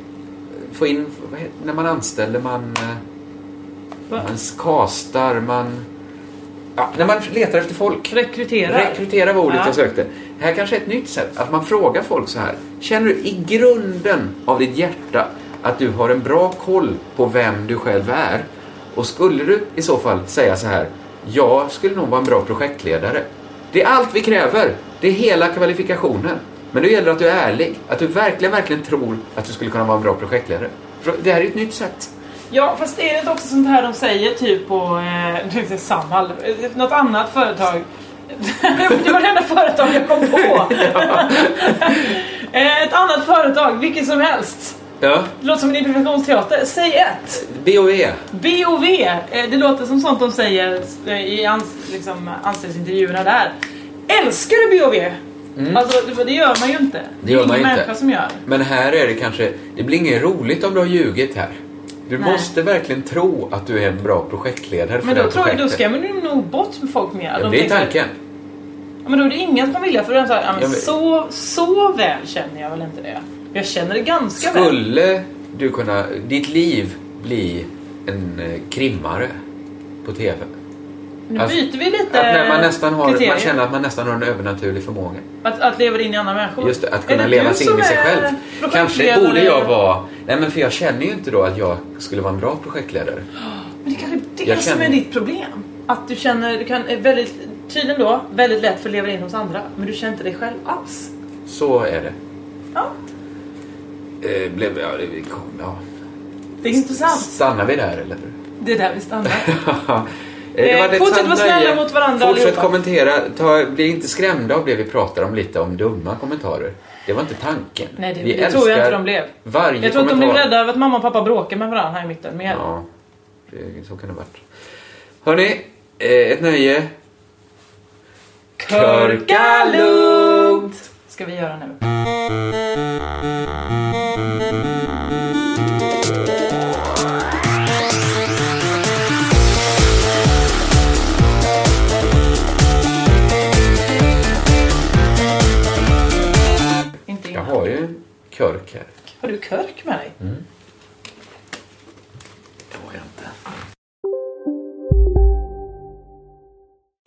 Få in, vad heter, när man anställer, man, Va? eh, man kastar, man... Ja, när man letar efter folk. Rekrytera. Rekrytera var ordet Ja. jag sökte. Det här kanske är ett nytt sätt, att man frågar folk så här. Känner du i grunden av ditt hjärta att du har en bra koll på vem du själv är? Och skulle du i så fall säga så här. Jag skulle nog vara en bra projektledare. Det är allt vi kräver. Det är hela kvalifikationen. Men då gäller det att du är ärlig. Att du verkligen, verkligen tror att du skulle kunna vara en bra projektledare. För Det här är ett nytt sätt. Ja, fast är det inte också sånt här de säger typ på eh, *laughs* det är Samhall, eh, något annat företag? *laughs* det var det enda företag jag kom på. *laughs* Eh, ett annat företag, vilket som helst. Ja, Det låter som en improvisationsteater. Säg ett! BOE. BOV. Eh, det låter som sånt de säger eh, i ans- liksom, anställningsintervjuerna där. Älskar du BOV? Alltså, det, det gör man ju inte. Mm. Det gör är man ingen inte. människa som gör. Men här är det kanske, det blir inget roligt om du har ljugit här. Du Nej. måste verkligen tro att du är en bra projektledare för Men det då här tror jag, då projektet. skrämmer du nog bort folk mer. ja, De Det är tänker- tanken. Ja, men då är det ingen som kommer vilja för den sa, ja, Jag men vet. så, så väl känner jag väl inte det. Jag känner det ganska väl. Skulle du kunna, ditt liv bli en eh, krimmare på TV? Nu Alltså, byter vi lite Att när man, nästan har, kriterier. man känner att man nästan har en övernaturlig förmåga. Att, att leva in i andra människor. Just det, att Är kunna det leva du sig som in i sig är själv. Kanske projektledare? borde jag vara... Nej men för jag känner ju inte då att jag skulle vara en bra projektledare. Men det kanske är det Jag som känner- är ditt problem. Att du känner, du kan är väldigt, tydligen då, väldigt lätt för att leva in hos andra. Men du känner inte dig själv alls. Så är det. Ja, Eh, blev, ja, det kom, ja. det är intressant. Stannar vi där eller? Det är där vi stannar. *laughs* Eh, Det var Eh, ett fortsätt sant vara snälla nöje. mot varandra Fortsätt allihopa. kommentera. Ta, bli inte skrämda av det vi pratar om lite, om dumma kommentarer. Det var inte tanken. Nej, det, vi det tror jag älskar inte de blev. Varje jag tror att de blev kommentar. rädda över att mamma och pappa bråkar med varandra här i mitten. Men jag- Ja, det, så kan det ha varit. Hörni, eh, ett nöje. Körka lugnt! Ska vi göra nu. Inte Jag innan. har ju en körk här. Har du körk med dig? Det har jag inte.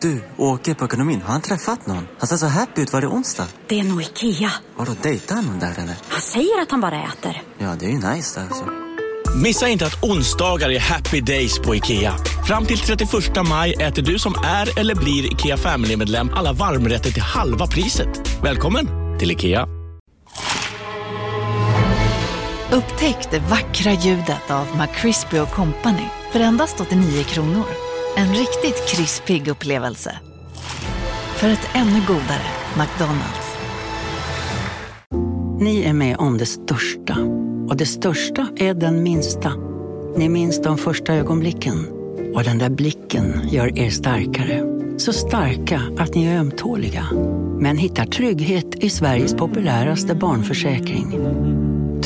Du, åker på ekonomin. Har han träffat någon? Han ser så happy ut. Var det onsdag? Det är nog Ikea. Har du dejtar han någon där eller? Han säger att han bara äter. Ja, det är ju nice alltså. Missa inte att onsdagar är happy days på IKEA. Fram till 31 maj äter du som är eller blir IKEA Family-medlem alla varmrätter till halva priset. Välkommen till IKEA. Upptäck det vackra ljudet av McCrispy Company för endast 89 kronor. En riktigt krispig upplevelse. För ett ännu godare McDonalds. Ni är med om det största. Och det största är den minsta. Ni minns de första ögonblicken. Och den där blicken gör er starkare. Så starka att ni är ömtåliga. Men hittar trygghet i Sveriges populäraste barnförsäkring.